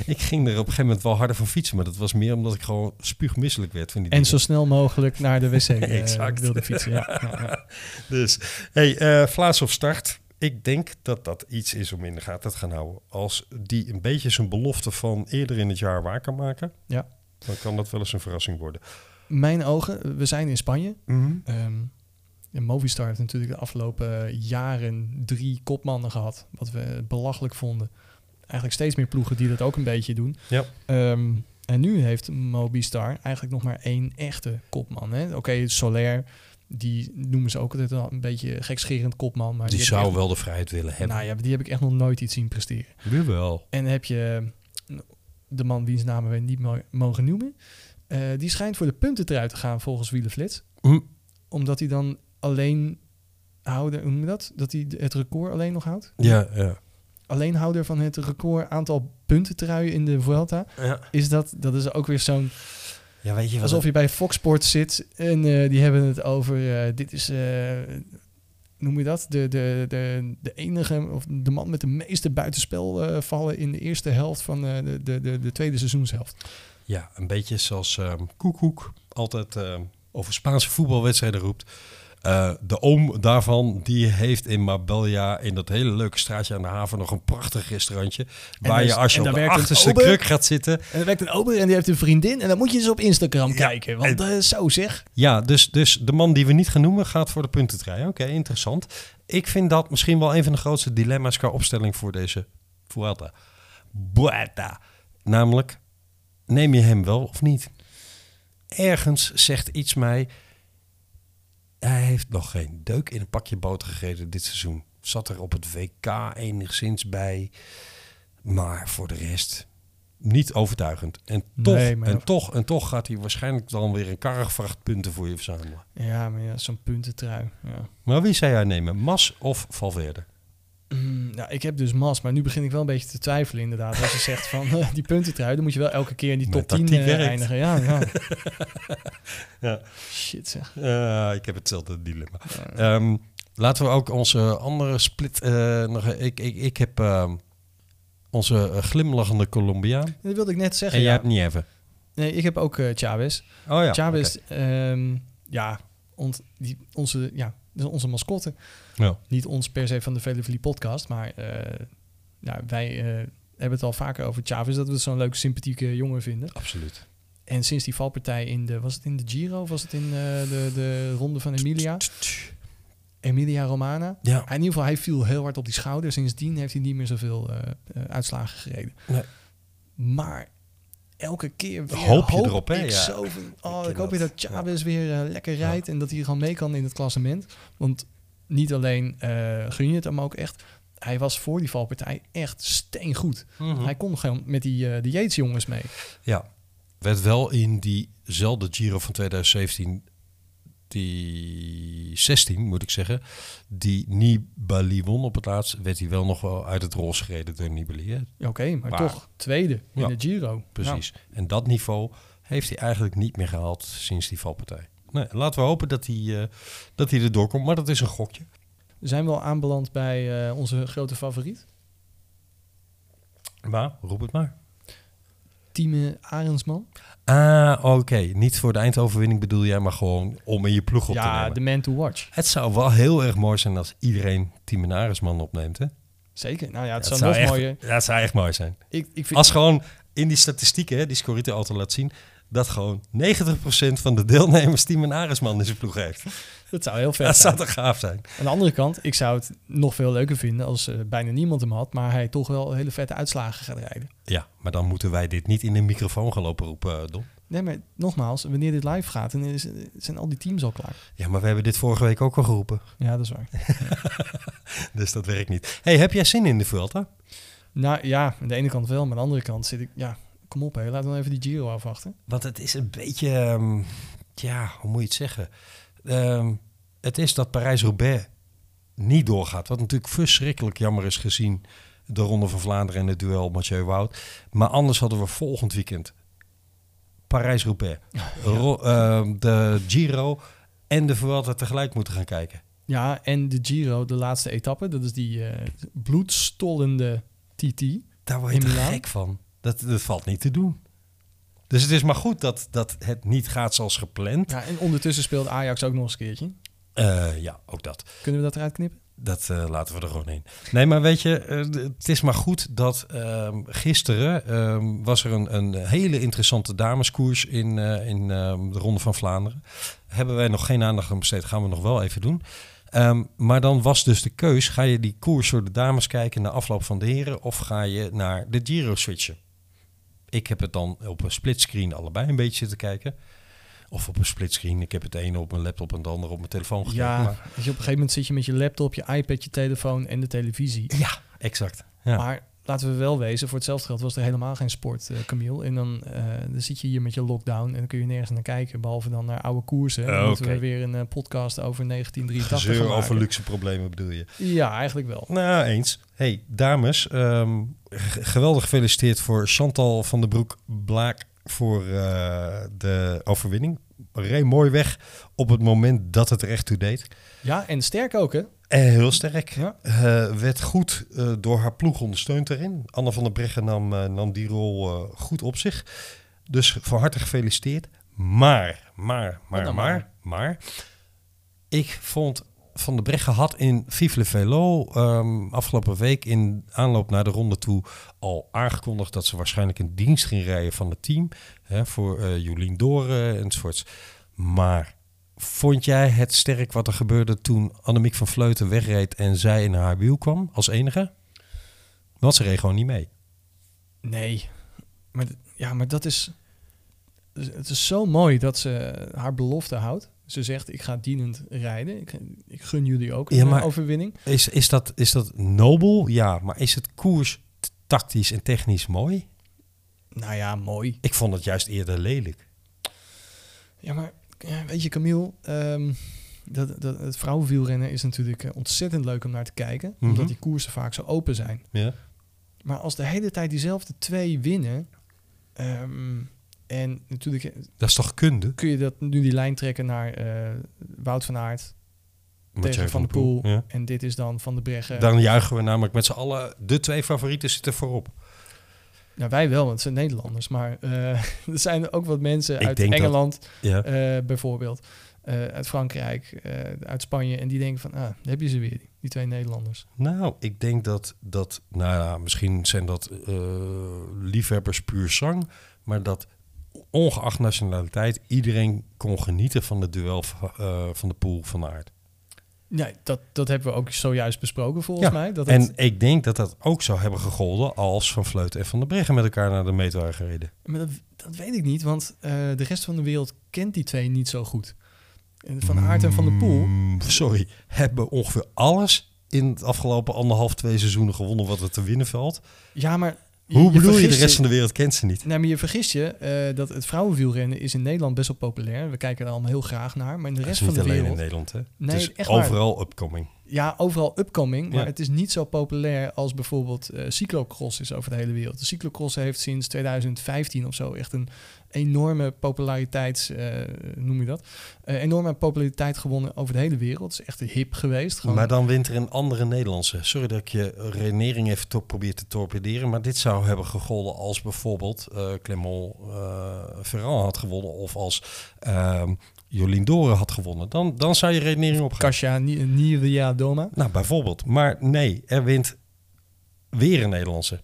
Speaker 1: ik ging er op een gegeven moment wel harder van fietsen, maar dat was meer omdat ik gewoon spuugmisselijk werd van die
Speaker 2: En
Speaker 1: dingen.
Speaker 2: zo snel mogelijk naar de wc eh,
Speaker 1: Exact.
Speaker 2: wilde fietsen. Ja, ja, ja.
Speaker 1: Dus, hey, eh Vlaas of start. Ik denk dat dat iets is om in de gaten te gaan houden. Als die een beetje zijn belofte van eerder in het jaar waar kan maken,
Speaker 2: Ja.
Speaker 1: dan kan dat wel eens een verrassing worden.
Speaker 2: Mijn ogen, we zijn in Spanje.
Speaker 1: Mhm.
Speaker 2: Ehm, en Movistar heeft natuurlijk de afgelopen jaren drie kopmannen gehad. Wat we belachelijk vonden. Eigenlijk steeds meer ploegen die dat ook een beetje doen.
Speaker 1: Ja.
Speaker 2: Ehm, en nu heeft Movistar eigenlijk nog maar één echte kopman. hè. Oké, Soler, die noemen ze ook altijd wel een beetje gekscherend kopman. Maar
Speaker 1: Die
Speaker 2: heb ik
Speaker 1: zou
Speaker 2: echt-
Speaker 1: wel de vrijheid willen hebben.
Speaker 2: Nou ja, die heb ik echt nog nooit iets zien presteren.
Speaker 1: Nu wel.
Speaker 2: En heb je de man wiens namen we niet mo- mogen noemen. eh, die schijnt voor de puntentrui te gaan volgens Wielenflits.
Speaker 1: Mhm.
Speaker 2: Omdat hij dan alleen houder, hoe noem je dat? Dat hij de- het record alleen nog houdt.
Speaker 1: Ja, ja.
Speaker 2: Alleenhouder van het record aantal puntentrui in de Vuelta.
Speaker 1: ja.
Speaker 2: Is dat, dat is ook weer zo'n...
Speaker 1: Ja, weet je wat
Speaker 2: Alsof je bij Fox Sports zit en eh, die hebben het over... eh, dit is, eh, noem je dat? De, de, de, de enige, of de man met de meeste buitenspel eh, vallen in de eerste helft van eh, de, de, de, de tweede seizoenshelft.
Speaker 1: Ja, een beetje zoals ehm Koekoek altijd ehm, over Spaanse voetbalwedstrijden roept. Eh, de oom daarvan, die heeft in Marbella, in dat hele leuke straatje aan de haven, nog een prachtig restaurantje.
Speaker 2: daar
Speaker 1: waar je
Speaker 2: is-
Speaker 1: als je
Speaker 2: en
Speaker 1: op
Speaker 2: daar
Speaker 1: de
Speaker 2: werkt een
Speaker 1: achterste
Speaker 2: ober.
Speaker 1: kruk gaat zitten.
Speaker 2: En er werkt een ober en die heeft een vriendin en dan moet je eens op Instagram kijken. Want eh, zo zeg.
Speaker 1: Ja, dus, dus de man die we niet gaan noemen gaat voor de puntentrui. Oké, interessant. Ik vind dat misschien wel een van de grootste dilemma's qua opstelling voor deze Vuelta. Vuelta. Namelijk, neem je hem wel of niet? Ergens zegt iets mij... Hij heeft nog geen deuk in een pakje boter gegeten dit seizoen. Zat er op het WK enigszins bij. Maar voor de rest niet overtuigend. En toch,
Speaker 2: Nee, maar-
Speaker 1: en toch, en toch gaat hij waarschijnlijk dan weer een karrevracht punten voor je verzamelen.
Speaker 2: Ja, maar ja, zo'n puntentrui. Ja.
Speaker 1: Maar wie zou jij nemen? Mas of Valverde?
Speaker 2: Mm, nou, ik heb dus Mas, maar nu begin ik wel een beetje te twijfelen inderdaad. Als je zegt van eh, die puntentrui, dan moet je wel elke keer in die
Speaker 1: Mijn
Speaker 2: top 10
Speaker 1: tactiek
Speaker 2: eh,
Speaker 1: werkt.
Speaker 2: eindigen. Ja, ja.
Speaker 1: Ja.
Speaker 2: Shit zeg.
Speaker 1: Eh, ik heb hetzelfde dilemma. Ehm, laten we ook onze andere split... eh, nog, ik, ik, ik heb ehm, onze eh, glimlachende Colombiaan.
Speaker 2: Dat wilde ik net
Speaker 1: En
Speaker 2: zeggen.
Speaker 1: jij
Speaker 2: ja.
Speaker 1: hebt niet even.
Speaker 2: Nee, ik heb ook eh Chavez.
Speaker 1: Oh ja.
Speaker 2: Chavez,
Speaker 1: oké.
Speaker 2: ehm, ja, ont, die, onze, ja, dat is onze mascotte.
Speaker 1: Ja.
Speaker 2: Niet ons per se van de Vele Vlie podcast, maar eh, nou, wij eh, hebben het al vaker over Chavez, dat we het zo'n leuke, sympathieke jongen vinden.
Speaker 1: Absoluut.
Speaker 2: En sinds die valpartij in de, was het in de Giro of was het in eh, de, de ronde van Emilia? Emilia Romana.
Speaker 1: Ja.
Speaker 2: In ieder geval, hij viel heel hard op die schouder. Sindsdien heeft hij niet meer zoveel eh, eh, uitslagen gereden.
Speaker 1: Nee.
Speaker 2: Maar elke keer weer
Speaker 1: Hoop je erop, hè?
Speaker 2: ik
Speaker 1: Ja.
Speaker 2: zo van, oh,
Speaker 1: ken
Speaker 2: ik hoop weer
Speaker 1: dat.
Speaker 2: dat Chavez weer eh, lekker rijdt en dat hij gewoon mee kan in het klassement. Want niet alleen eh, gun je het hem ook echt. Hij was voor die valpartij echt steengoed.
Speaker 1: Mhm.
Speaker 2: Hij kon gewoon met die, eh de Yates jongens mee.
Speaker 1: Ja. Werd wel in diezelfde Giro van 2017, die 16 moet ik zeggen, die Nibali won op het laatst, werd hij wel nog wel uit het roze gereden door Nibali. Hè?
Speaker 2: Ja, Oké, maar,
Speaker 1: Maar-
Speaker 2: toch tweede
Speaker 1: Ja,
Speaker 2: in de Giro.
Speaker 1: Precies. En dat niveau heeft hij eigenlijk niet meer gehaald sinds die valpartij. Nee, laten we hopen dat hij, eh dat hij erdoor komt, maar dat is een gokje.
Speaker 2: zijn we al aanbeland bij eh, onze grote favoriet.
Speaker 1: Maar, roep het maar.
Speaker 2: Time Arendsman.
Speaker 1: Ah, oké. Niet voor de eindoverwinning bedoel jij, maar gewoon om in je ploeg op te
Speaker 2: Ja,
Speaker 1: nemen.
Speaker 2: de man to watch.
Speaker 1: Het zou wel heel erg mooi zijn als iedereen Timenarisman opneemt, hè?
Speaker 2: Zeker. Nou ja, het
Speaker 1: Ja,
Speaker 2: zou nog
Speaker 1: echt,
Speaker 2: mooier.
Speaker 1: ja, het zou echt mooi zijn.
Speaker 2: Ik, ik vind,
Speaker 1: Als gewoon in die statistieken, hè, die Scorito altijd laat zien... dat gewoon 90% van de deelnemers Timenarisman in zijn ploeg heeft.
Speaker 2: dat zou heel vet
Speaker 1: Dat
Speaker 2: zijn.
Speaker 1: zou toch gaaf zijn?
Speaker 2: Aan de andere kant, ik zou het nog veel leuker vinden als eh, bijna niemand hem had, maar hij toch wel hele vette uitslagen gaat rijden.
Speaker 1: Ja, maar dan moeten wij dit niet in de microfoon gaan lopen roepen, eh, Don.
Speaker 2: Nee, maar nogmaals, wanneer dit live gaat, dan is, zijn al die teams al klaar.
Speaker 1: Ja, maar we hebben dit vorige week ook al geroepen.
Speaker 2: Ja, dat is waar.
Speaker 1: Dus dat werkt niet. hey, heb jij zin in de Vuelta?
Speaker 2: Nou ja, aan de ene kant wel, maar aan de andere kant zit ik, ja, kom op hé, laten we even die Giro afwachten.
Speaker 1: Want het is een beetje... ehm, ja, hoe moet je het zeggen? Ehm, het is dat Parijs-Roubaix niet doorgaat. Wat natuurlijk verschrikkelijk jammer is gezien... de Ronde van Vlaanderen en het duel Mathieu Wout. Maar anders hadden we volgend weekend... Parijs-Roubaix, Ro- ehm, de Giro en de Vuelta tegelijk moeten gaan kijken.
Speaker 2: Ja, en de Giro, de laatste etappe, dat is die eh, bloedstollende TT.
Speaker 1: Daar word je
Speaker 2: In
Speaker 1: toch
Speaker 2: Milaan?
Speaker 1: gek van. Dat, dat valt niet te doen. Dus het is maar goed dat, dat het niet gaat zoals gepland.
Speaker 2: Ja, en ondertussen speelt Ajax ook nog eens een keertje.
Speaker 1: Eh, ja, ook dat.
Speaker 2: Kunnen we dat eruit knippen?
Speaker 1: Dat eh, laten we er gewoon in. Nee, maar weet je, eh, d- het is maar goed dat ehm, gisteren ehm, was er een, een hele interessante dameskoers in, eh, in ehm, de Ronde van Vlaanderen. Hebben wij nog geen aandacht aan besteed, gaan we nog wel even doen. Ehm, maar dan was dus de keus, ga je die koers door de dames kijken na afloop van de heren of ga je naar de Giro switchen? Ik heb het dan op een splitscreen allebei een beetje zitten kijken. Of op een splitscreen. Ik heb het ene op mijn laptop en het andere op mijn telefoon gekeken.
Speaker 2: Ja,
Speaker 1: maar-
Speaker 2: weet je, op een gegeven moment zit je met je laptop, je iPad, je telefoon en de televisie.
Speaker 1: ja exact. Ja.
Speaker 2: Maar laten we wel wezen, voor hetzelfde geld was er helemaal geen sport, eh, Camille. En dan, eh, dan zit je hier met je lockdown en dan kun je nergens naar kijken, behalve dan naar oude koersen. En dan
Speaker 1: Oh,
Speaker 2: moeten we
Speaker 1: oké.
Speaker 2: weer een eh, podcast over 1983 gaan
Speaker 1: Gezeur
Speaker 2: maken.
Speaker 1: over luxe problemen bedoel je?
Speaker 2: Ja, eigenlijk wel.
Speaker 1: Nou, eens. Hey, dames. ehm, g- geweldig gefeliciteerd voor Chantal van den Broek Blaak voor eh, de overwinning. Reed mooi weg op het moment dat het er echt toe deed.
Speaker 2: Ja, en sterk ook, hè?
Speaker 1: En Eh, heel sterk.
Speaker 2: Ja.
Speaker 1: Eh, werd goed eh, door haar ploeg ondersteund erin. Anne van der Breggen nam, eh, nam die rol eh, goed op zich. Dus van harte gefeliciteerd. Maar, maar, maar,
Speaker 2: dan
Speaker 1: maar, maar. Ik vond Van der Breggen had in Vive le Velo ehm, afgelopen week in aanloop naar de ronde toe al aangekondigd dat ze waarschijnlijk in dienst ging rijden van het team. Hè, voor eh, Jolien Doren enzovoorts. Maar vond jij het sterk wat er gebeurde toen Annemiek van Vleuten wegreed en zij in haar wiel kwam als enige? Want ze reed gewoon niet mee.
Speaker 2: Nee. Maar, d- ja, maar dat is... Het is zo mooi dat ze haar belofte houdt. Ze zegt, ik ga dienend rijden. Ik, ik gun jullie ook een eh,
Speaker 1: Ja, maar-
Speaker 2: overwinning.
Speaker 1: Is, is, dat, is dat nobel? Ja, maar is het koers t- tactisch en technisch mooi?
Speaker 2: Nou ja, mooi.
Speaker 1: Ik vond het juist eerder lelijk.
Speaker 2: Ja, maar ja, weet je, Camille, ehm, dat, dat, het vrouwenwielrennen is natuurlijk eh, ontzettend leuk om naar te kijken.
Speaker 1: Mhm.
Speaker 2: Omdat die koersen vaak zo open zijn.
Speaker 1: Ja.
Speaker 2: Maar als de hele tijd diezelfde twee winnen. ehm, en natuurlijk eh,
Speaker 1: Dat is toch kunde?
Speaker 2: kun je dat nu die lijn trekken naar eh, Wout van Aert
Speaker 1: Mathieu
Speaker 2: tegen Van der Poel.
Speaker 1: Ja.
Speaker 2: En dit is dan Van de Breggen.
Speaker 1: Dan juichen we namelijk met z'n allen de twee favorieten zitten voorop.
Speaker 2: Nou, wij wel, want het zijn Nederlanders. Maar eh, er zijn ook wat mensen
Speaker 1: Ik
Speaker 2: uit
Speaker 1: denk dat-
Speaker 2: Engeland
Speaker 1: Ja.
Speaker 2: eh, bijvoorbeeld. eh, uit Frankrijk, eh, uit Spanje. En die denken van, ah, daar heb je ze weer, die- die twee Nederlanders.
Speaker 1: Nou, ik denk dat dat, nou ja, misschien zijn dat eh, liefhebbers puur zang, maar dat ongeacht nationaliteit iedereen kon genieten van het duel van, eh, van de pool van aard.
Speaker 2: Ja, dat, dat hebben we ook zojuist besproken volgens
Speaker 1: Ja,
Speaker 2: mij. Dat het,
Speaker 1: En ik denk dat dat ook zou hebben gegolden als Van Vleut en Van der Breggen met elkaar naar de meter waren gereden.
Speaker 2: maar dat, dat weet ik niet, want eh, de rest van de wereld kent die twee niet zo goed. En Van Aert en Van der Poel.
Speaker 1: Mm, sorry, hebben ongeveer alles in het afgelopen anderhalf, twee seizoenen gewonnen wat er te winnen valt.
Speaker 2: Ja, maar...
Speaker 1: Hoe bedoel je, de
Speaker 2: vergist
Speaker 1: rest van de wereld kent ze niet?
Speaker 2: Nee, maar je vergist je eh, dat het vrouwenwielrennen is in Nederland best wel populair. We kijken er allemaal heel graag naar. Maar in de
Speaker 1: Dat
Speaker 2: rest
Speaker 1: is
Speaker 2: van
Speaker 1: niet
Speaker 2: de
Speaker 1: alleen
Speaker 2: wereld...
Speaker 1: in Nederland, hè?
Speaker 2: Nee,
Speaker 1: het is
Speaker 2: echt waar.
Speaker 1: overal upcoming.
Speaker 2: ja, overal upcoming, maar
Speaker 1: Ja.
Speaker 2: het is niet zo populair als bijvoorbeeld eh, cyclocross is over de hele wereld. De cyclocross heeft sinds 2015 of zo echt een enorme populariteits, eh, noem je dat, Eh, enorme populariteit gewonnen over de hele wereld. Het is echt hip geweest. Gewoon.
Speaker 1: Maar dan wint er een andere Nederlandse. Sorry dat ik je redenering even to- probeer te torpederen. Maar dit zou hebben gegolden als bijvoorbeeld eh Clement eh Ferrand had gewonnen. Of als ehm, Jolien Doren had gewonnen. Dan, dan zou je redenering opgaan.
Speaker 2: Kasia Ni- Niria Doma.
Speaker 1: Nou, bijvoorbeeld. Maar nee, er wint weer een Nederlandse.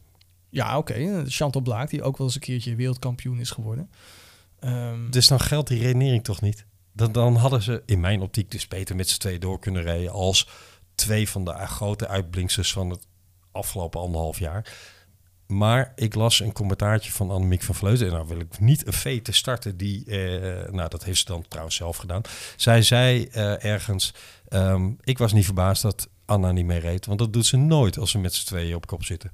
Speaker 2: Ja, oké. eh, Chantal Blaak, die ook wel eens een keertje wereldkampioen is geworden. Ehm,
Speaker 1: Dus dan geldt die redenering toch niet? Dan, dan hadden ze in mijn optiek dus beter met z'n twee door kunnen rijden... als twee van de grote uitblinksters van het afgelopen anderhalf jaar. Maar ik las een commentaartje van Annemiek van Vleuten... en nou wil ik niet een vete starten die... eh, nou, dat heeft ze dan trouwens zelf gedaan. Zij zei eh, ergens... ehm, ik was niet verbaasd dat Anna niet mee reed... want dat doet ze nooit als ze met z'n tweeën op kop zitten.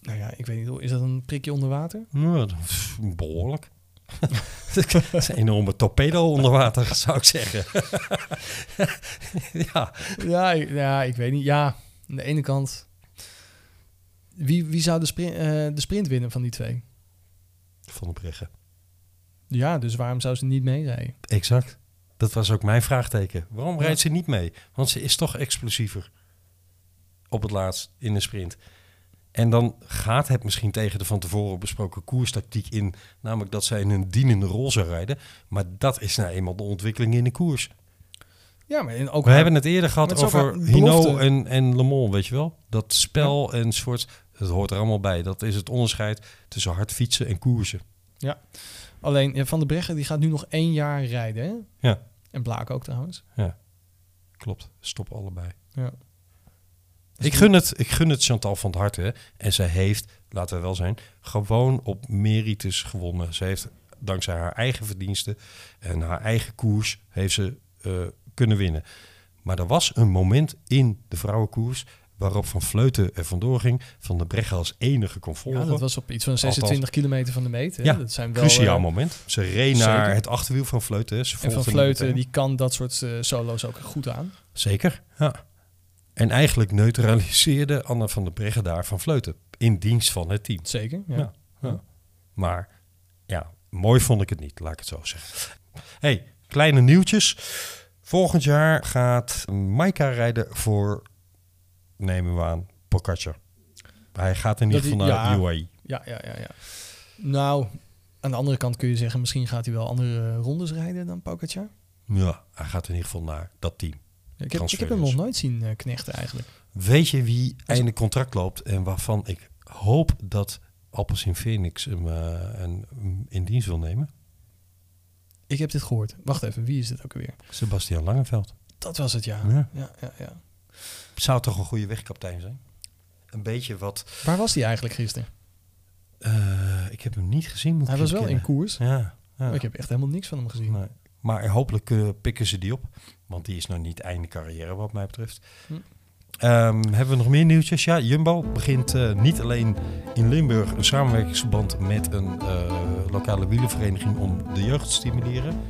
Speaker 2: nou ja, ik weet niet, is dat een prikje onder water?
Speaker 1: Nou, dat is behoorlijk. dat is een enorme torpedo onder water, zou ik zeggen. ja,
Speaker 2: Ja, ik- ja, ik weet niet. Ja, aan de ene kant. Wie, wie zou de sprint, de sprint winnen van die twee?
Speaker 1: Van de Breggen.
Speaker 2: Ja, dus waarom zou ze niet meerijden?
Speaker 1: Exact. Dat was ook mijn vraagteken. Waarom
Speaker 2: Ja.
Speaker 1: rijdt ze niet mee? Want ze is toch explosiever. Op het laatst in een sprint. En dan gaat het misschien tegen de van tevoren besproken koerstactiek in. Namelijk dat zij in een dienende rol zou rijden. Maar dat is nou eenmaal de ontwikkeling in de koers.
Speaker 2: Ja, maar en ook
Speaker 1: We hebben het eerder
Speaker 2: Maar
Speaker 1: gehad
Speaker 2: het is ook
Speaker 1: over
Speaker 2: een
Speaker 1: Hino
Speaker 2: belofte.
Speaker 1: en, en Le Mans, weet je wel? Dat spel en soort, dat hoort er allemaal bij. Dat is het onderscheid tussen hard fietsen en koersen.
Speaker 2: alleen ja, Van der Breggen die gaat nu nog één jaar rijden. Hè?
Speaker 1: Ja.
Speaker 2: En Blaak ook trouwens.
Speaker 1: Klopt, stop allebei.
Speaker 2: Ja.
Speaker 1: Ik gun, het, ik gun het Chantal van het harte. En ze heeft, laten we wel zijn, gewoon op merites gewonnen. Ze heeft dankzij haar eigen verdiensten en haar eigen koers heeft ze eh, kunnen winnen. Maar er was een moment in de vrouwenkoers waarop Van Vleuten er vandoor ging. Van de Breggen als enige kon volgen.
Speaker 2: Ja, dat was op iets van
Speaker 1: Althans.
Speaker 2: 26 kilometer van de meet. Hè?
Speaker 1: Ja,
Speaker 2: dat zijn wel.
Speaker 1: Cruciaal
Speaker 2: eh,
Speaker 1: moment. Ze reed
Speaker 2: zeker.
Speaker 1: naar het achterwiel van Vleuten. hè. Ze
Speaker 2: en van
Speaker 1: volgde
Speaker 2: Vleuten
Speaker 1: meteen.
Speaker 2: die kan dat soort eh, solo's ook goed aan.
Speaker 1: Zeker, ja. En eigenlijk neutraliseerde Anna van der Breggen daar van Vleuten. In dienst van het team.
Speaker 2: Zeker. Ja.
Speaker 1: Ja. Maar ja, mooi vond ik het niet, laat ik het zo zeggen. hey, kleine nieuwtjes. Volgend jaar gaat Maika rijden voor, nemen we aan, Pogacar. Hij gaat in ieder
Speaker 2: Dat
Speaker 1: geval
Speaker 2: die-
Speaker 1: naar E.
Speaker 2: ja.
Speaker 1: UAE.
Speaker 2: Ja, ja, ja, ja. Nou, aan de andere kant kun je zeggen, misschien gaat hij wel andere rondes rijden dan Pogacar.
Speaker 1: Ja, hij gaat in ieder geval naar dat team.
Speaker 2: Ik heb, ik heb hem
Speaker 1: Transferdeals.
Speaker 2: nog nooit zien eh, knechten eigenlijk.
Speaker 1: Weet je wie einde contract loopt en waarvan ik hoop dat Appels in Phoenix hem eh, een- hem in dienst wil nemen?
Speaker 2: Ik heb dit gehoord. Wacht even, wie is dit ook alweer?
Speaker 1: Sebastian Langeveld.
Speaker 2: Dat was het, ja.
Speaker 1: Ja.
Speaker 2: Ja, ja, ja,
Speaker 1: Zou toch een goede wegkaptein zijn? Een beetje wat.
Speaker 2: Waar was hij eigenlijk gisteren?
Speaker 1: eh, ik heb hem niet gezien. Moet
Speaker 2: Hij
Speaker 1: ik
Speaker 2: was wel
Speaker 1: eerlijk
Speaker 2: in
Speaker 1: bekennen.
Speaker 2: koers.
Speaker 1: Ja, ja.
Speaker 2: Maar ik heb echt helemaal niks van hem gezien.
Speaker 1: Nee. Maar hopelijk eh, pikken ze die op. Want die is nog niet einde carrière wat mij betreft.
Speaker 2: Hm.
Speaker 1: Ehm, hebben we nog meer nieuwtjes? Ja, Jumbo begint eh, niet alleen in Limburg een samenwerkingsverband met een eh, lokale wielenvereniging om de jeugd te stimuleren.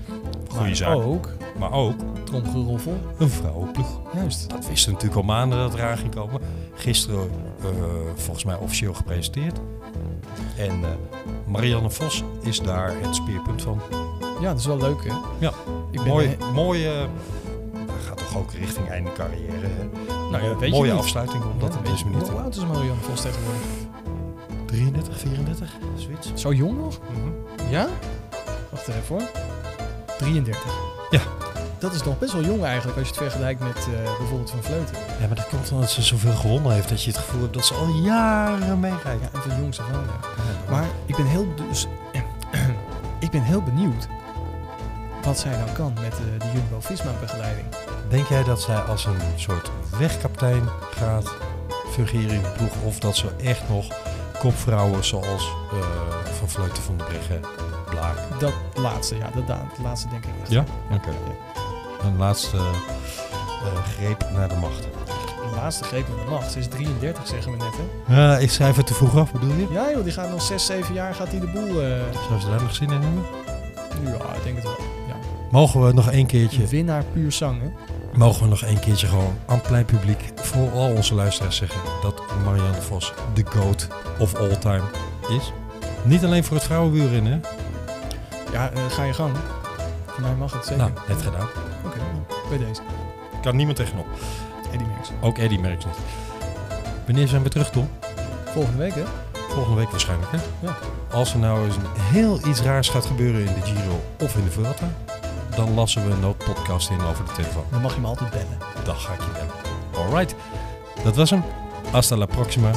Speaker 1: Goeie
Speaker 2: Maar
Speaker 1: zaak.
Speaker 2: ook
Speaker 1: Maar ook
Speaker 2: tromgeroffel.
Speaker 1: een vrouwenploeg.
Speaker 2: Juist.
Speaker 1: Dat wisten we natuurlijk al maanden dat eraan ging komen. Gisteren eh, volgens mij officieel gepresenteerd. En eh, Marianne Vos is daar het speerpunt van.
Speaker 2: Ja, dat is wel leuk, hè?
Speaker 1: Ja.
Speaker 2: Ik ben
Speaker 1: Mooi,
Speaker 2: eh,
Speaker 1: mooi eh, hij gaat toch ook richting einde carrière. hè?
Speaker 2: Nou ja, weet je
Speaker 1: mooie
Speaker 2: niet.
Speaker 1: afsluiting op dat
Speaker 2: ja,
Speaker 1: op deze
Speaker 2: weet-
Speaker 1: minuut.
Speaker 2: Hoe oud is Marianne Vos tegenwoordig?
Speaker 1: 33, 34, zoiets.
Speaker 2: Zo jong nog? Ja? Wacht even hoor. 33.
Speaker 1: Ja.
Speaker 2: Dat is nog best wel jong eigenlijk als je het vergelijkt met eh, bijvoorbeeld Van Vleuten.
Speaker 1: Ja, maar dat komt omdat ze zoveel gewonnen heeft dat je het gevoel hebt dat ze al jaren meerijdt.
Speaker 2: Ja, en van jongs af aan, ja.
Speaker 1: Ja,
Speaker 2: Maar ik ben heel, dus, ik ben heel benieuwd wat zij nou kan met eh, de Jumbo-Visma-begeleiding.
Speaker 1: Denk jij dat zij als een soort wegkaptein gaat fungeren in de ploeg? Of dat ze echt nog kopvrouwen zoals eh, Van Vleuten van de Breggen blaken?
Speaker 2: Dat laatste, ja, dat, da- dat laatste denk ik echt.
Speaker 1: Ja? Oké. Een laatste eh, greep naar de macht.
Speaker 2: De laatste greep in de macht. Ze is 33, zeggen we net, hè?
Speaker 1: Eh, ik schrijf het te vroeg af, bedoel je?
Speaker 2: Ja, joh, die gaat nog 6, 7 jaar gaat die de boel... eh
Speaker 1: Zou ze daar nog zin in hebben?
Speaker 2: ja, ik denk het wel. Ja.
Speaker 1: Mogen we nog één keertje
Speaker 2: Winnaar puur zang, hè?
Speaker 1: mogen we nog een keertje gewoon aan plein publiek voor al onze luisteraars zeggen dat Marianne Vos de GOAT of all time is. Niet alleen voor het vrouwenwielrennen, hè?
Speaker 2: Ja, eh, ga je gang. Voor mij mag het zeker.
Speaker 1: Nou, net gedaan.
Speaker 2: Oké, nou, bij deze.
Speaker 1: Kan niemand tegenop.
Speaker 2: Eddie Merckx.
Speaker 1: Ook Eddie merkt het. Wanneer zijn we terug, Tom?
Speaker 2: Volgende week, hè?
Speaker 1: Volgende week waarschijnlijk, hè?
Speaker 2: Ja.
Speaker 1: Als er nou eens een heel iets raars gaat gebeuren in de Giro of in de Vuelta, dan lassen we een noodpodcast in over de telefoon.
Speaker 2: Dan mag je me altijd bellen.
Speaker 1: Dan ga ik je bellen. Alright, dat was hem. Hasta la proxima.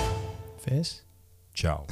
Speaker 2: Ves?
Speaker 1: Ciao.